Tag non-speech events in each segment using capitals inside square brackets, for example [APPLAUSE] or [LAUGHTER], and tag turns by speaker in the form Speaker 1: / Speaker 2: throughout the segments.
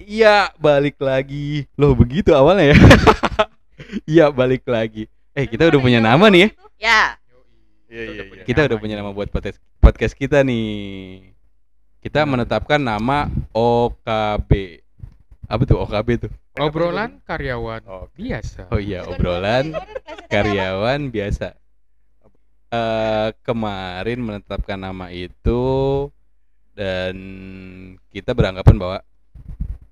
Speaker 1: Iya, balik lagi. Loh, begitu awalnya ya. [LAUGHS] Iya, balik lagi. Eh, kita udah punya nama nih ya.
Speaker 2: Ya,
Speaker 3: Kita
Speaker 4: Iya iya
Speaker 3: udah punya
Speaker 4: iya.
Speaker 1: Kita udah punya nama buat podcast podcast kita nih. Kita menetapkan nama OKB. Apa tuh OKB tuh?
Speaker 3: Obrolan karyawan
Speaker 4: Oke.
Speaker 3: biasa.
Speaker 1: Oh iya, obrolan karyawan biasa. Eh kemarin menetapkan nama itu dan kita beranggapan bahwa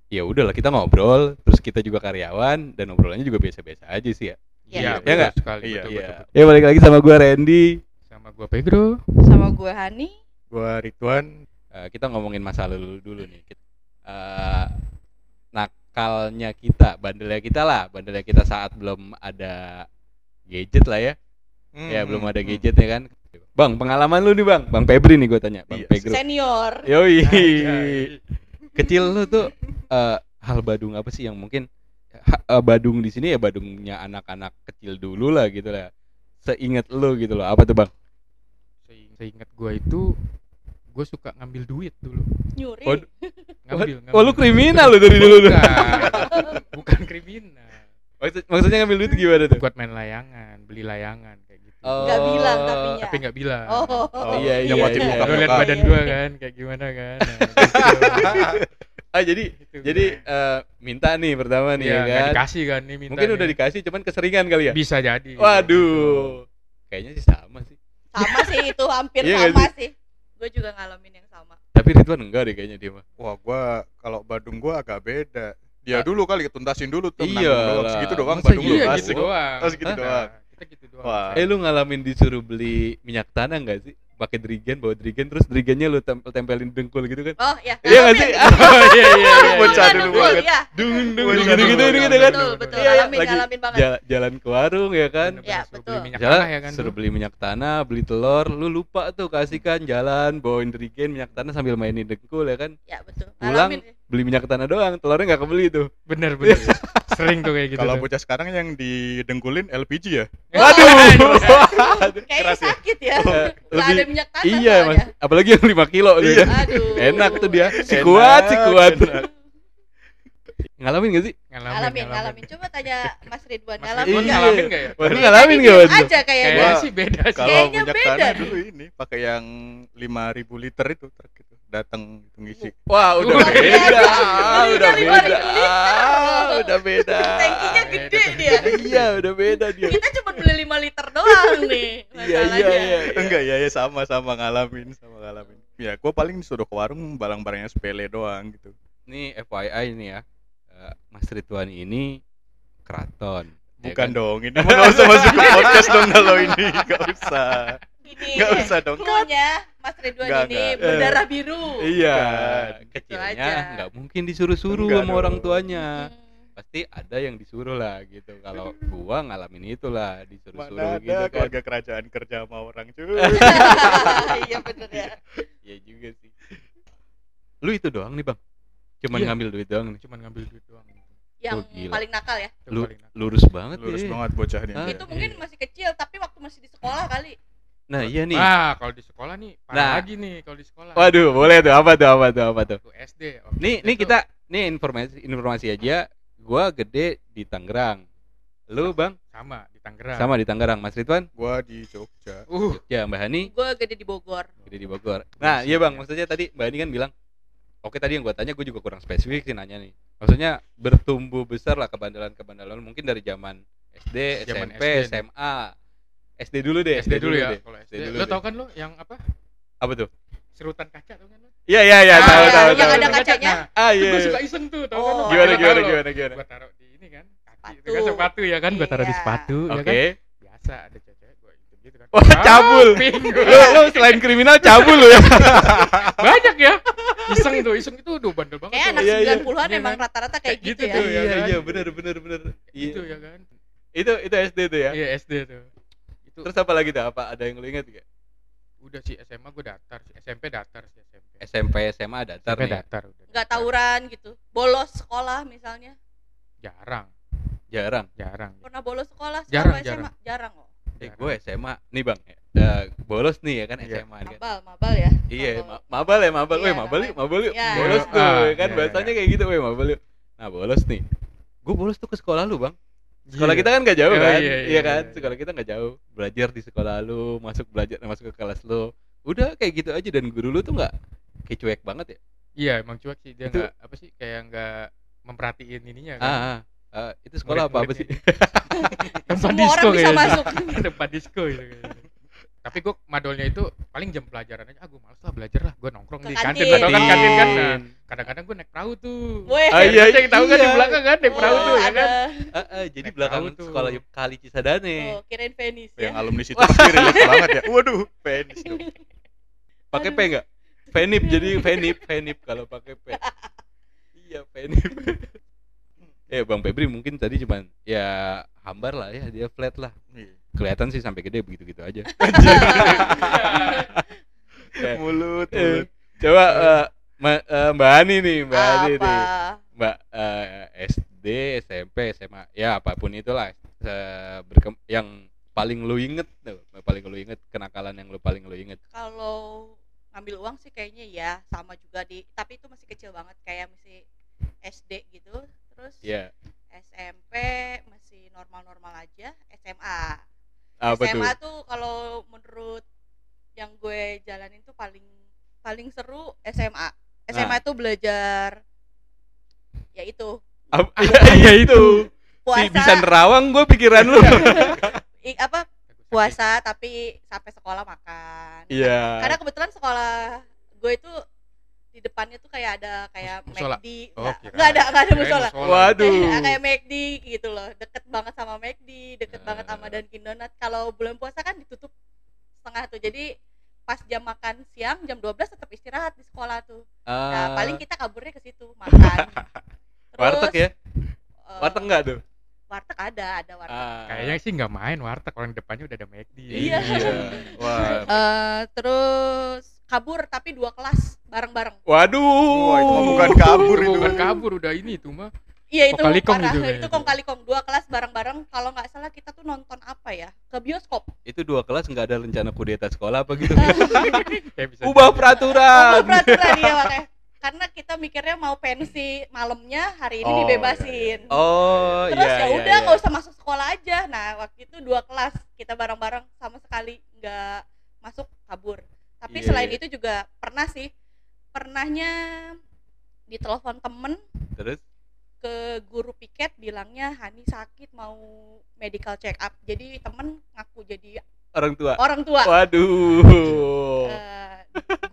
Speaker 1: ya udahlah kita ngobrol, terus kita juga karyawan dan obrolannya juga biasa-biasa aja sih ya.
Speaker 2: ya.
Speaker 3: Iya,
Speaker 1: iya
Speaker 3: betul
Speaker 1: nggak?
Speaker 3: sekali.
Speaker 4: Iya,
Speaker 3: betul,
Speaker 1: iya.
Speaker 3: betul, betul.
Speaker 1: Ya balik lagi sama gua Randy.
Speaker 3: Sama gua Pedro.
Speaker 2: Sama gue Hani.
Speaker 4: Gua Ridwan.
Speaker 1: Eh, kita ngomongin masa lalu dulu nih. Kita- eh, nakalnya kita, bandelnya kita lah, bandelnya kita saat belum ada gadget lah ya.
Speaker 4: Hmm.
Speaker 1: Ya belum ada
Speaker 3: Hmm.
Speaker 1: gadget ya kan. Bang, pengalaman lu nih Bang. Bang Febri nih gue tanya, Bang
Speaker 4: Iya,
Speaker 1: Febri.
Speaker 2: Senior.
Speaker 1: Yoi.
Speaker 4: Anjay.
Speaker 1: Kecil lu tuh eh, hal Badung apa sih yang mungkin ha- eh, Badung di sini ya Badungnya anak-anak kecil dulu lah gitu lah. Seingat lu gitu loh. Apa tuh Bang?
Speaker 3: Seing- Seingat gua itu gua suka ngambil duit dulu.
Speaker 2: Nyuri.
Speaker 1: Waduh.
Speaker 3: Ngambil.
Speaker 1: Oh, lu
Speaker 3: ngambil.
Speaker 1: kriminal lu dari dulu lu.
Speaker 3: Bukan. Bukan kriminal.
Speaker 1: Maksud- maksudnya ngambil duit gimana tuh?
Speaker 3: Buat main layangan, beli layangan kayak gitu.
Speaker 2: Nggak bilang tapi ya.
Speaker 3: Tapi nggak bilang.
Speaker 2: Oh.
Speaker 1: Oh, iya,
Speaker 4: Yang
Speaker 1: iya,
Speaker 4: wajib
Speaker 1: iya.
Speaker 4: buka
Speaker 3: Lu lihat
Speaker 4: muka.
Speaker 3: badan
Speaker 2: Iya,
Speaker 3: gua
Speaker 2: iya.
Speaker 3: kan kayak gimana kan. Nah,
Speaker 1: Ah jadi
Speaker 3: gitu.
Speaker 1: jadi eh, minta nih pertama nih
Speaker 3: Iya,
Speaker 1: ya
Speaker 3: nggak
Speaker 1: kan.
Speaker 3: dikasih kan nih minta.
Speaker 1: Mungkin udah
Speaker 3: nih. Iya.
Speaker 1: dikasih cuman keseringan kali ya.
Speaker 3: Bisa jadi.
Speaker 1: Waduh. Kayaknya sih sama sih.
Speaker 2: Sama sih itu hampir
Speaker 1: Iya nggak
Speaker 2: sama sih. Gue juga ngalamin yang sama.
Speaker 1: Tapi Ridwan enggak deh kayaknya dia mah.
Speaker 4: Wah, gua kalau Badung gua agak beda. Dia Ya, dulu kali tuntasin dulu tuh
Speaker 1: Ah. Iya
Speaker 4: nanggung doang.
Speaker 1: lah.
Speaker 4: segitu doang
Speaker 1: Masa
Speaker 4: Badung
Speaker 1: iya
Speaker 4: lu
Speaker 3: Iya,
Speaker 4: asik.
Speaker 3: gitu doang.
Speaker 4: Oh, segitu
Speaker 3: Nah,
Speaker 4: doang.
Speaker 3: Kita gitu doang.
Speaker 4: Wah.
Speaker 1: Eh lu ngalamin disuruh beli minyak tanah enggak sih? Pakai dirigen, bawa dirigen terus dirigennya lu tempel tempelin dengkul gitu kan.
Speaker 2: Oh ya.
Speaker 1: Iya enggak sih? [LAUGHS]
Speaker 3: iya iya iya.
Speaker 4: Bocah
Speaker 2: Bocah
Speaker 4: dulu
Speaker 2: dulu
Speaker 4: banget.
Speaker 2: Iya.
Speaker 1: Dung dung
Speaker 4: Betul,
Speaker 1: gitu gitu
Speaker 4: betul,
Speaker 1: gitu
Speaker 4: betul,
Speaker 1: kan.
Speaker 2: Betul, betul.
Speaker 1: Iya, iya,
Speaker 2: Ngalamin,
Speaker 1: lagi
Speaker 2: ngalamin banget.
Speaker 1: Jalan, jalan ke warung ya kan.
Speaker 2: Iya,
Speaker 3: Bener-bener suruh
Speaker 2: betul.
Speaker 3: beli minyak
Speaker 1: jalan
Speaker 3: tanah ya kan.
Speaker 1: suruh
Speaker 3: tuh.
Speaker 1: beli minyak tanah, beli telur, lu lupa tuh kasih kan jalan bawain dirigen minyak tanah sambil mainin dengkul ya kan.
Speaker 2: Ya betul.
Speaker 1: Pulang.
Speaker 2: Ngalamin. sih.
Speaker 1: Beli minyak tanah doang, telurnya nggak kebeli tuh.
Speaker 3: Bener bener. [LAUGHS] Sering tuh kayak gitu.
Speaker 4: Kalau
Speaker 3: tuh.
Speaker 4: bocah sekarang yang didengkulin LPG ya.
Speaker 1: Waduh.
Speaker 2: Kayaknya
Speaker 4: Keras ya?
Speaker 2: sakit ya.
Speaker 1: Eh,
Speaker 2: Nggak ada
Speaker 1: lebih
Speaker 2: minyak tanah.
Speaker 1: [LAUGHS] iya mas
Speaker 2: soalnya.
Speaker 1: apalagi yang 5 kilo tuh
Speaker 4: Iya.
Speaker 1: ya.
Speaker 2: Aduh.
Speaker 1: enak tuh dia si
Speaker 4: Enak,
Speaker 1: kuat si kuat [LAUGHS]
Speaker 4: enak.
Speaker 1: ngalamin gak sih
Speaker 2: Ngalamin, ngalamin. Coba tanya Mas Ridwan.
Speaker 3: Mas
Speaker 2: Ngalamin
Speaker 3: Ridwan
Speaker 1: Iya.
Speaker 2: nggak?
Speaker 3: ngalamin nggak ya?
Speaker 1: Waduh,
Speaker 2: Jadi
Speaker 1: ngalamin gak
Speaker 2: diem
Speaker 1: waktu itu?
Speaker 2: Aja kayaknya.
Speaker 3: Kayaknya
Speaker 4: Wah.
Speaker 3: sih beda sih.
Speaker 4: Kalau
Speaker 2: Kayaknya
Speaker 4: minyak
Speaker 2: beda
Speaker 4: tanah
Speaker 2: deh.
Speaker 4: dulu ini pakai yang 5000 liter itu truk gitu. Datang gitu ngisi.
Speaker 1: Wah udah
Speaker 3: Udah
Speaker 1: beda,
Speaker 2: beda.
Speaker 1: udah beda, Ah,
Speaker 2: Beli dari beli.
Speaker 1: udah beda.
Speaker 2: Tankinya gede dia.
Speaker 1: Iya udah beda dia.
Speaker 2: Kita cuma beli 5 liter doang nih.
Speaker 1: Iya iya
Speaker 2: masalahnya.
Speaker 1: iya.
Speaker 4: Enggak ya, ya sama sama ngalamin, sama ngalamin. Ya, gua paling disuruh ke warung barang-barangnya sepele doang gitu.
Speaker 1: Ini FYI nih ya, Eh, Mas Ridwan ini keraton. ya
Speaker 4: Bukan
Speaker 1: kan?
Speaker 4: dong, ini mah nggak usah masuk ke podcast dong kalau ini, nggak usah,
Speaker 2: Gini.
Speaker 4: nggak usah dong. Kan
Speaker 2: Cluenya Mas Ridwan
Speaker 4: Nggak,
Speaker 2: ini
Speaker 4: nggak.
Speaker 2: berdarah biru.
Speaker 1: Iya.
Speaker 4: Bukan.
Speaker 2: Gitu
Speaker 1: Kecilnya
Speaker 2: aja.
Speaker 1: nggak mungkin disuruh-suruh
Speaker 4: Enggak
Speaker 1: sama
Speaker 4: dong.
Speaker 1: orang tuanya.
Speaker 2: Hmm.
Speaker 1: Pasti ada yang disuruh lah gitu. Kalau gua ngalamin itulah
Speaker 4: Mana
Speaker 1: disuruh-suruh
Speaker 4: ada
Speaker 1: gitu kan. Eh,
Speaker 4: keluarga kerajaan kerja sama orang cuy.
Speaker 2: Iya bener ya.
Speaker 1: Iya juga sih. Lu itu doang nih bang. Cuman
Speaker 3: Iya.
Speaker 1: ngambil duit doang nih.
Speaker 3: Cuman ngambil duit doang. Itu
Speaker 2: Yang
Speaker 1: Oh, gila.
Speaker 2: paling nakal ya.
Speaker 1: Lu-
Speaker 3: paling nakal.
Speaker 1: Lurus banget
Speaker 4: Lurus
Speaker 1: ya.
Speaker 4: banget bocah ini.
Speaker 1: Ah.
Speaker 2: Itu mungkin masih kecil tapi waktu masih di sekolah kali.
Speaker 1: Nah iya nih.
Speaker 3: Nah, kalau di sekolah nih parah
Speaker 1: Nah.
Speaker 3: lagi nih kalau di sekolah.
Speaker 1: Waduh, boleh tuh apa tuh apa tuh apa tuh.
Speaker 3: Waktu SD.
Speaker 1: Nih nih kita nih informasi informasi aja. Gua gede di Tangerang.
Speaker 3: Nah.
Speaker 1: Lu bang
Speaker 3: sama di Tangerang.
Speaker 1: sama di Tangerang. Mas Ridwan?
Speaker 4: Gua di Jogja.
Speaker 3: Uh,
Speaker 1: Ya Mbak Hani
Speaker 2: Gue gede di Bogor.
Speaker 1: gede di Bogor. Nah iya bang maksudnya tadi Mbak Hani kan bilang. Oke tadi yang gua tanya gue juga kurang spesifik sih nanya nih. Maksudnya bertumbuh besar lah kebandalan-kebandalan mungkin dari zaman SD,
Speaker 3: Zaman
Speaker 1: SMP,
Speaker 3: SD.
Speaker 1: SMA. SD dulu deh.
Speaker 3: SD dulu ya.
Speaker 1: deh.
Speaker 3: Kalau SD.
Speaker 1: SD dulu
Speaker 3: Lu
Speaker 1: deh.
Speaker 3: tau kan lu yang apa?
Speaker 1: Apa tuh?
Speaker 3: Serutan kaca tuh kan lu?
Speaker 1: Iya iya iya tahu
Speaker 2: Ah, iya,
Speaker 1: tahu
Speaker 2: yang
Speaker 1: tahu.
Speaker 2: ada
Speaker 1: tahu.
Speaker 2: kan- kacanya.
Speaker 3: Nah,
Speaker 1: Ah
Speaker 3: itu
Speaker 1: iya.
Speaker 3: gua suka iseng tuh, tau kan lu?
Speaker 2: Oh.
Speaker 1: Gimana
Speaker 3: Gua
Speaker 1: gimana
Speaker 3: tahu.
Speaker 1: gimana gimana.
Speaker 3: Gua taruh di ini kan, kaki itu kan
Speaker 2: Sepatu.
Speaker 3: sepatu ya kan, gua taruh di
Speaker 2: Iya.
Speaker 3: sepatu ya kan.
Speaker 1: Oke.
Speaker 3: Biasa ada cewek gua intip gitu kan.
Speaker 1: Wah, cabul.
Speaker 3: Minggu.
Speaker 1: Lu, lu selain kriminal cabul lu ya.
Speaker 3: [LAUGHS] Banyak ya. Iseng tuh, iseng itu udah bandel banget.
Speaker 2: Kayak
Speaker 3: tuh.
Speaker 2: anak
Speaker 1: Iya, iya.
Speaker 2: 90-an
Speaker 3: Oh, Iya,
Speaker 2: emang
Speaker 3: kan?
Speaker 2: rata-rata kayak
Speaker 3: Kayak
Speaker 2: gitu
Speaker 3: gitu
Speaker 2: ya.
Speaker 3: tuh, ya
Speaker 1: Iya
Speaker 3: kan?
Speaker 1: iya benar benar benar.
Speaker 3: Gitu
Speaker 1: Iya.
Speaker 3: ya kan.
Speaker 1: Itu itu SD tuh ya.
Speaker 3: Iya, SD tuh. Itu
Speaker 1: Terus apa lagi tuh? Apa ada yang lu ingat enggak?
Speaker 3: udah sih SMA gua datar, sih. SMP datar sih SMP.
Speaker 1: SMP SMA datar
Speaker 3: SMP
Speaker 1: nih. ya?
Speaker 3: datar udah.
Speaker 2: Nggak tawuran gitu. Bolos sekolah misalnya.
Speaker 3: Jarang,
Speaker 1: Jarang.
Speaker 3: jarang.
Speaker 1: Oh,
Speaker 2: Pernah bolos sekolah sama
Speaker 3: Jarang,
Speaker 2: SMA? Jarang loh.
Speaker 1: Eh
Speaker 3: Jarang.
Speaker 1: gue SMA nih Bang. Eh, bolos nih ya kan
Speaker 4: Iya.
Speaker 1: SMA kan.
Speaker 2: Mabal, mabal ya.
Speaker 1: Iya,
Speaker 2: Mabal.
Speaker 1: ma- mabal ya, mabal.
Speaker 2: Iya,
Speaker 1: Weh, mabal yuk, mabal yuk.
Speaker 2: Iya.
Speaker 1: Bolos tuh
Speaker 3: Ah,
Speaker 1: ya kan
Speaker 3: iya,
Speaker 1: bahasanya
Speaker 3: iya.
Speaker 1: kayak gitu, weh, mabal yuk. Nah bolos nih. Gue bolos tuh ke sekolah lu bang. Sekolah kita kan gak jauh
Speaker 3: Oh,
Speaker 1: kan?
Speaker 3: iya,
Speaker 1: Iya,
Speaker 3: iya,
Speaker 1: kan?
Speaker 3: iya.
Speaker 1: Sekolah kita gak jauh. Belajar di sekolah lu, masuk belajar masuk ke kelas lu. Udah kayak gitu aja dan guru lu tuh nggak kayak cuek banget ya.
Speaker 3: iya emang cuek sih dia
Speaker 1: Itu-
Speaker 3: nggak apa sih kayak nggak memperhatiin ininya
Speaker 1: Ah,
Speaker 3: kan
Speaker 1: ah. Ah, itu sekolah apa apa sih?
Speaker 3: Murid-muridnya. tempat
Speaker 2: Semua orang
Speaker 3: disko
Speaker 2: bisa
Speaker 3: kayaknya.
Speaker 2: masuk.
Speaker 3: [LAUGHS] tempat disco gitu kayaknya. tapi gue madolnya itu paling jam pelajaran aja ah gue males lah belajar lah gue nongkrong
Speaker 2: Ke
Speaker 3: di
Speaker 2: kantin.
Speaker 3: kantin Padahal kan kantin kan nah,
Speaker 1: Kantin.
Speaker 3: kadang-kadang gue naik perahu tuh
Speaker 2: Weh.
Speaker 1: Hmm. Ah, iya,
Speaker 3: Ceng, tahu kan di
Speaker 1: iya.
Speaker 3: belakang kan naik perahu
Speaker 2: Oh,
Speaker 3: tuh ya kan
Speaker 2: ada.
Speaker 1: [LAUGHS] Ah, ah, jadi
Speaker 3: Naik
Speaker 1: belakang
Speaker 3: perahu tuh.
Speaker 1: sekolah kali Cisadane.
Speaker 2: Oh, kirain Venice
Speaker 4: yang
Speaker 1: Iya,
Speaker 2: ya.
Speaker 4: alumni situ
Speaker 2: [LAUGHS]
Speaker 4: pasti relate banget ya waduh fans dong
Speaker 1: Pakai P enggak? Fenip jadi Fenip, Fenip kalau pakai P. iya, Fenip. [LAUGHS] eh Bang Febri mungkin tadi cuman ya hambar lah ya, dia flat lah.
Speaker 4: Iya.
Speaker 1: Kelihatan sih sampai gede begitu-gitu aja. Eh,
Speaker 4: Iya. mulut
Speaker 1: eh,
Speaker 4: mulut
Speaker 1: Coba eh, Ma- eh, Mbak Ani nih, Mbak Ani
Speaker 2: Apa?
Speaker 1: nih. Mbak eh, SD, SMP, SMA, ya apapun itulah se- berkem- yang paling lu inget tuh, paling lu inget kenakalan yang lu paling lu inget.
Speaker 2: Kalau ngambil uang sih kayaknya ya sama juga di tapi itu masih kecil banget kayak masih SD gitu. Terus
Speaker 1: Ya,
Speaker 2: SMP masih normal-normal aja, SMA.
Speaker 1: apa tuh?
Speaker 2: SMA tuh kalau menurut yang gue jalanin tuh paling paling seru SMA. SMA
Speaker 1: Nah.
Speaker 2: tuh belajar ya itu
Speaker 1: Ap- [LAUGHS]
Speaker 3: Iya itu.
Speaker 1: Si
Speaker 2: puasa Ya,
Speaker 1: bisa nerawang gue pikiran
Speaker 2: [LAUGHS]
Speaker 1: lu.
Speaker 2: i- apa puasa tapi sampai sekolah makan.
Speaker 1: Iya.
Speaker 2: Karena kebetulan sekolah gue itu di depannya tuh kayak ada kayak
Speaker 3: Mus- musola?
Speaker 2: McD.
Speaker 3: Oh,
Speaker 2: Nggak-
Speaker 3: kirain.
Speaker 2: nggak ada nggak ada
Speaker 3: Kirain
Speaker 2: musola.
Speaker 3: musola. gitu.
Speaker 1: Waduh.
Speaker 2: Kayak, kayak McD gitu loh. Deket banget sama McD, deket
Speaker 1: Eh.
Speaker 2: banget sama Dunkin Donat. Kalau bulan puasa kan ditutup setengah tuh. Jadi pas jam makan siang jam 12 tetap istirahat di sekolah tuh.
Speaker 1: Ah.
Speaker 2: Nah, paling kita kaburnya ke situ makan. Terus,
Speaker 1: warteg ya?
Speaker 2: eh,
Speaker 1: Warteg enggak tuh?
Speaker 2: warteg ada, ada warteg.
Speaker 1: Ah.
Speaker 3: kayaknya sih nggak main warteg orang depannya udah ada McD
Speaker 2: Iya.
Speaker 1: Iya.
Speaker 4: wah
Speaker 2: Eh, terus kabur tapi dua kelas bareng-bareng.
Speaker 1: Waduh.
Speaker 4: Wah, itu mah bukan kabur
Speaker 3: Oh,
Speaker 4: itu.
Speaker 1: kan.
Speaker 3: bukan kabur udah ini itu mah
Speaker 2: Iya itu
Speaker 3: Kong kali kong
Speaker 2: parah. itu
Speaker 3: gitu
Speaker 1: ya.
Speaker 3: kayaknya.
Speaker 2: kong kali kong dua kelas bareng-bareng kalau nggak salah kita tuh nonton apa ya ke bioskop
Speaker 1: Itu dua kelas enggak ada rencana kudeta sekolah apa gitu.
Speaker 3: kayak bisa
Speaker 1: Ubah [LAUGHS]
Speaker 3: jadi.
Speaker 2: Ubah
Speaker 1: peraturan.
Speaker 2: peraturan iya makanya karena kita mikirnya mau pensi malamnya hari ini
Speaker 4: Oh,
Speaker 2: dibebasin
Speaker 1: iya, Oh,
Speaker 2: terus
Speaker 1: iya.
Speaker 2: ya
Speaker 1: iya,
Speaker 2: udah
Speaker 1: iya.
Speaker 2: nggak usah masuk sekolah aja nah waktu itu dua kelas kita bareng-bareng sama sekali nggak masuk kabur tapi
Speaker 1: Iya,
Speaker 2: selain
Speaker 1: iya.
Speaker 2: itu juga pernah sih pernahnya ditelepon temen
Speaker 1: Terus
Speaker 2: ke guru piket bilangnya Hani sakit mau medical check up jadi temen ngaku jadi
Speaker 1: orang tua.
Speaker 2: orang tua
Speaker 1: Waduh.
Speaker 2: Eh,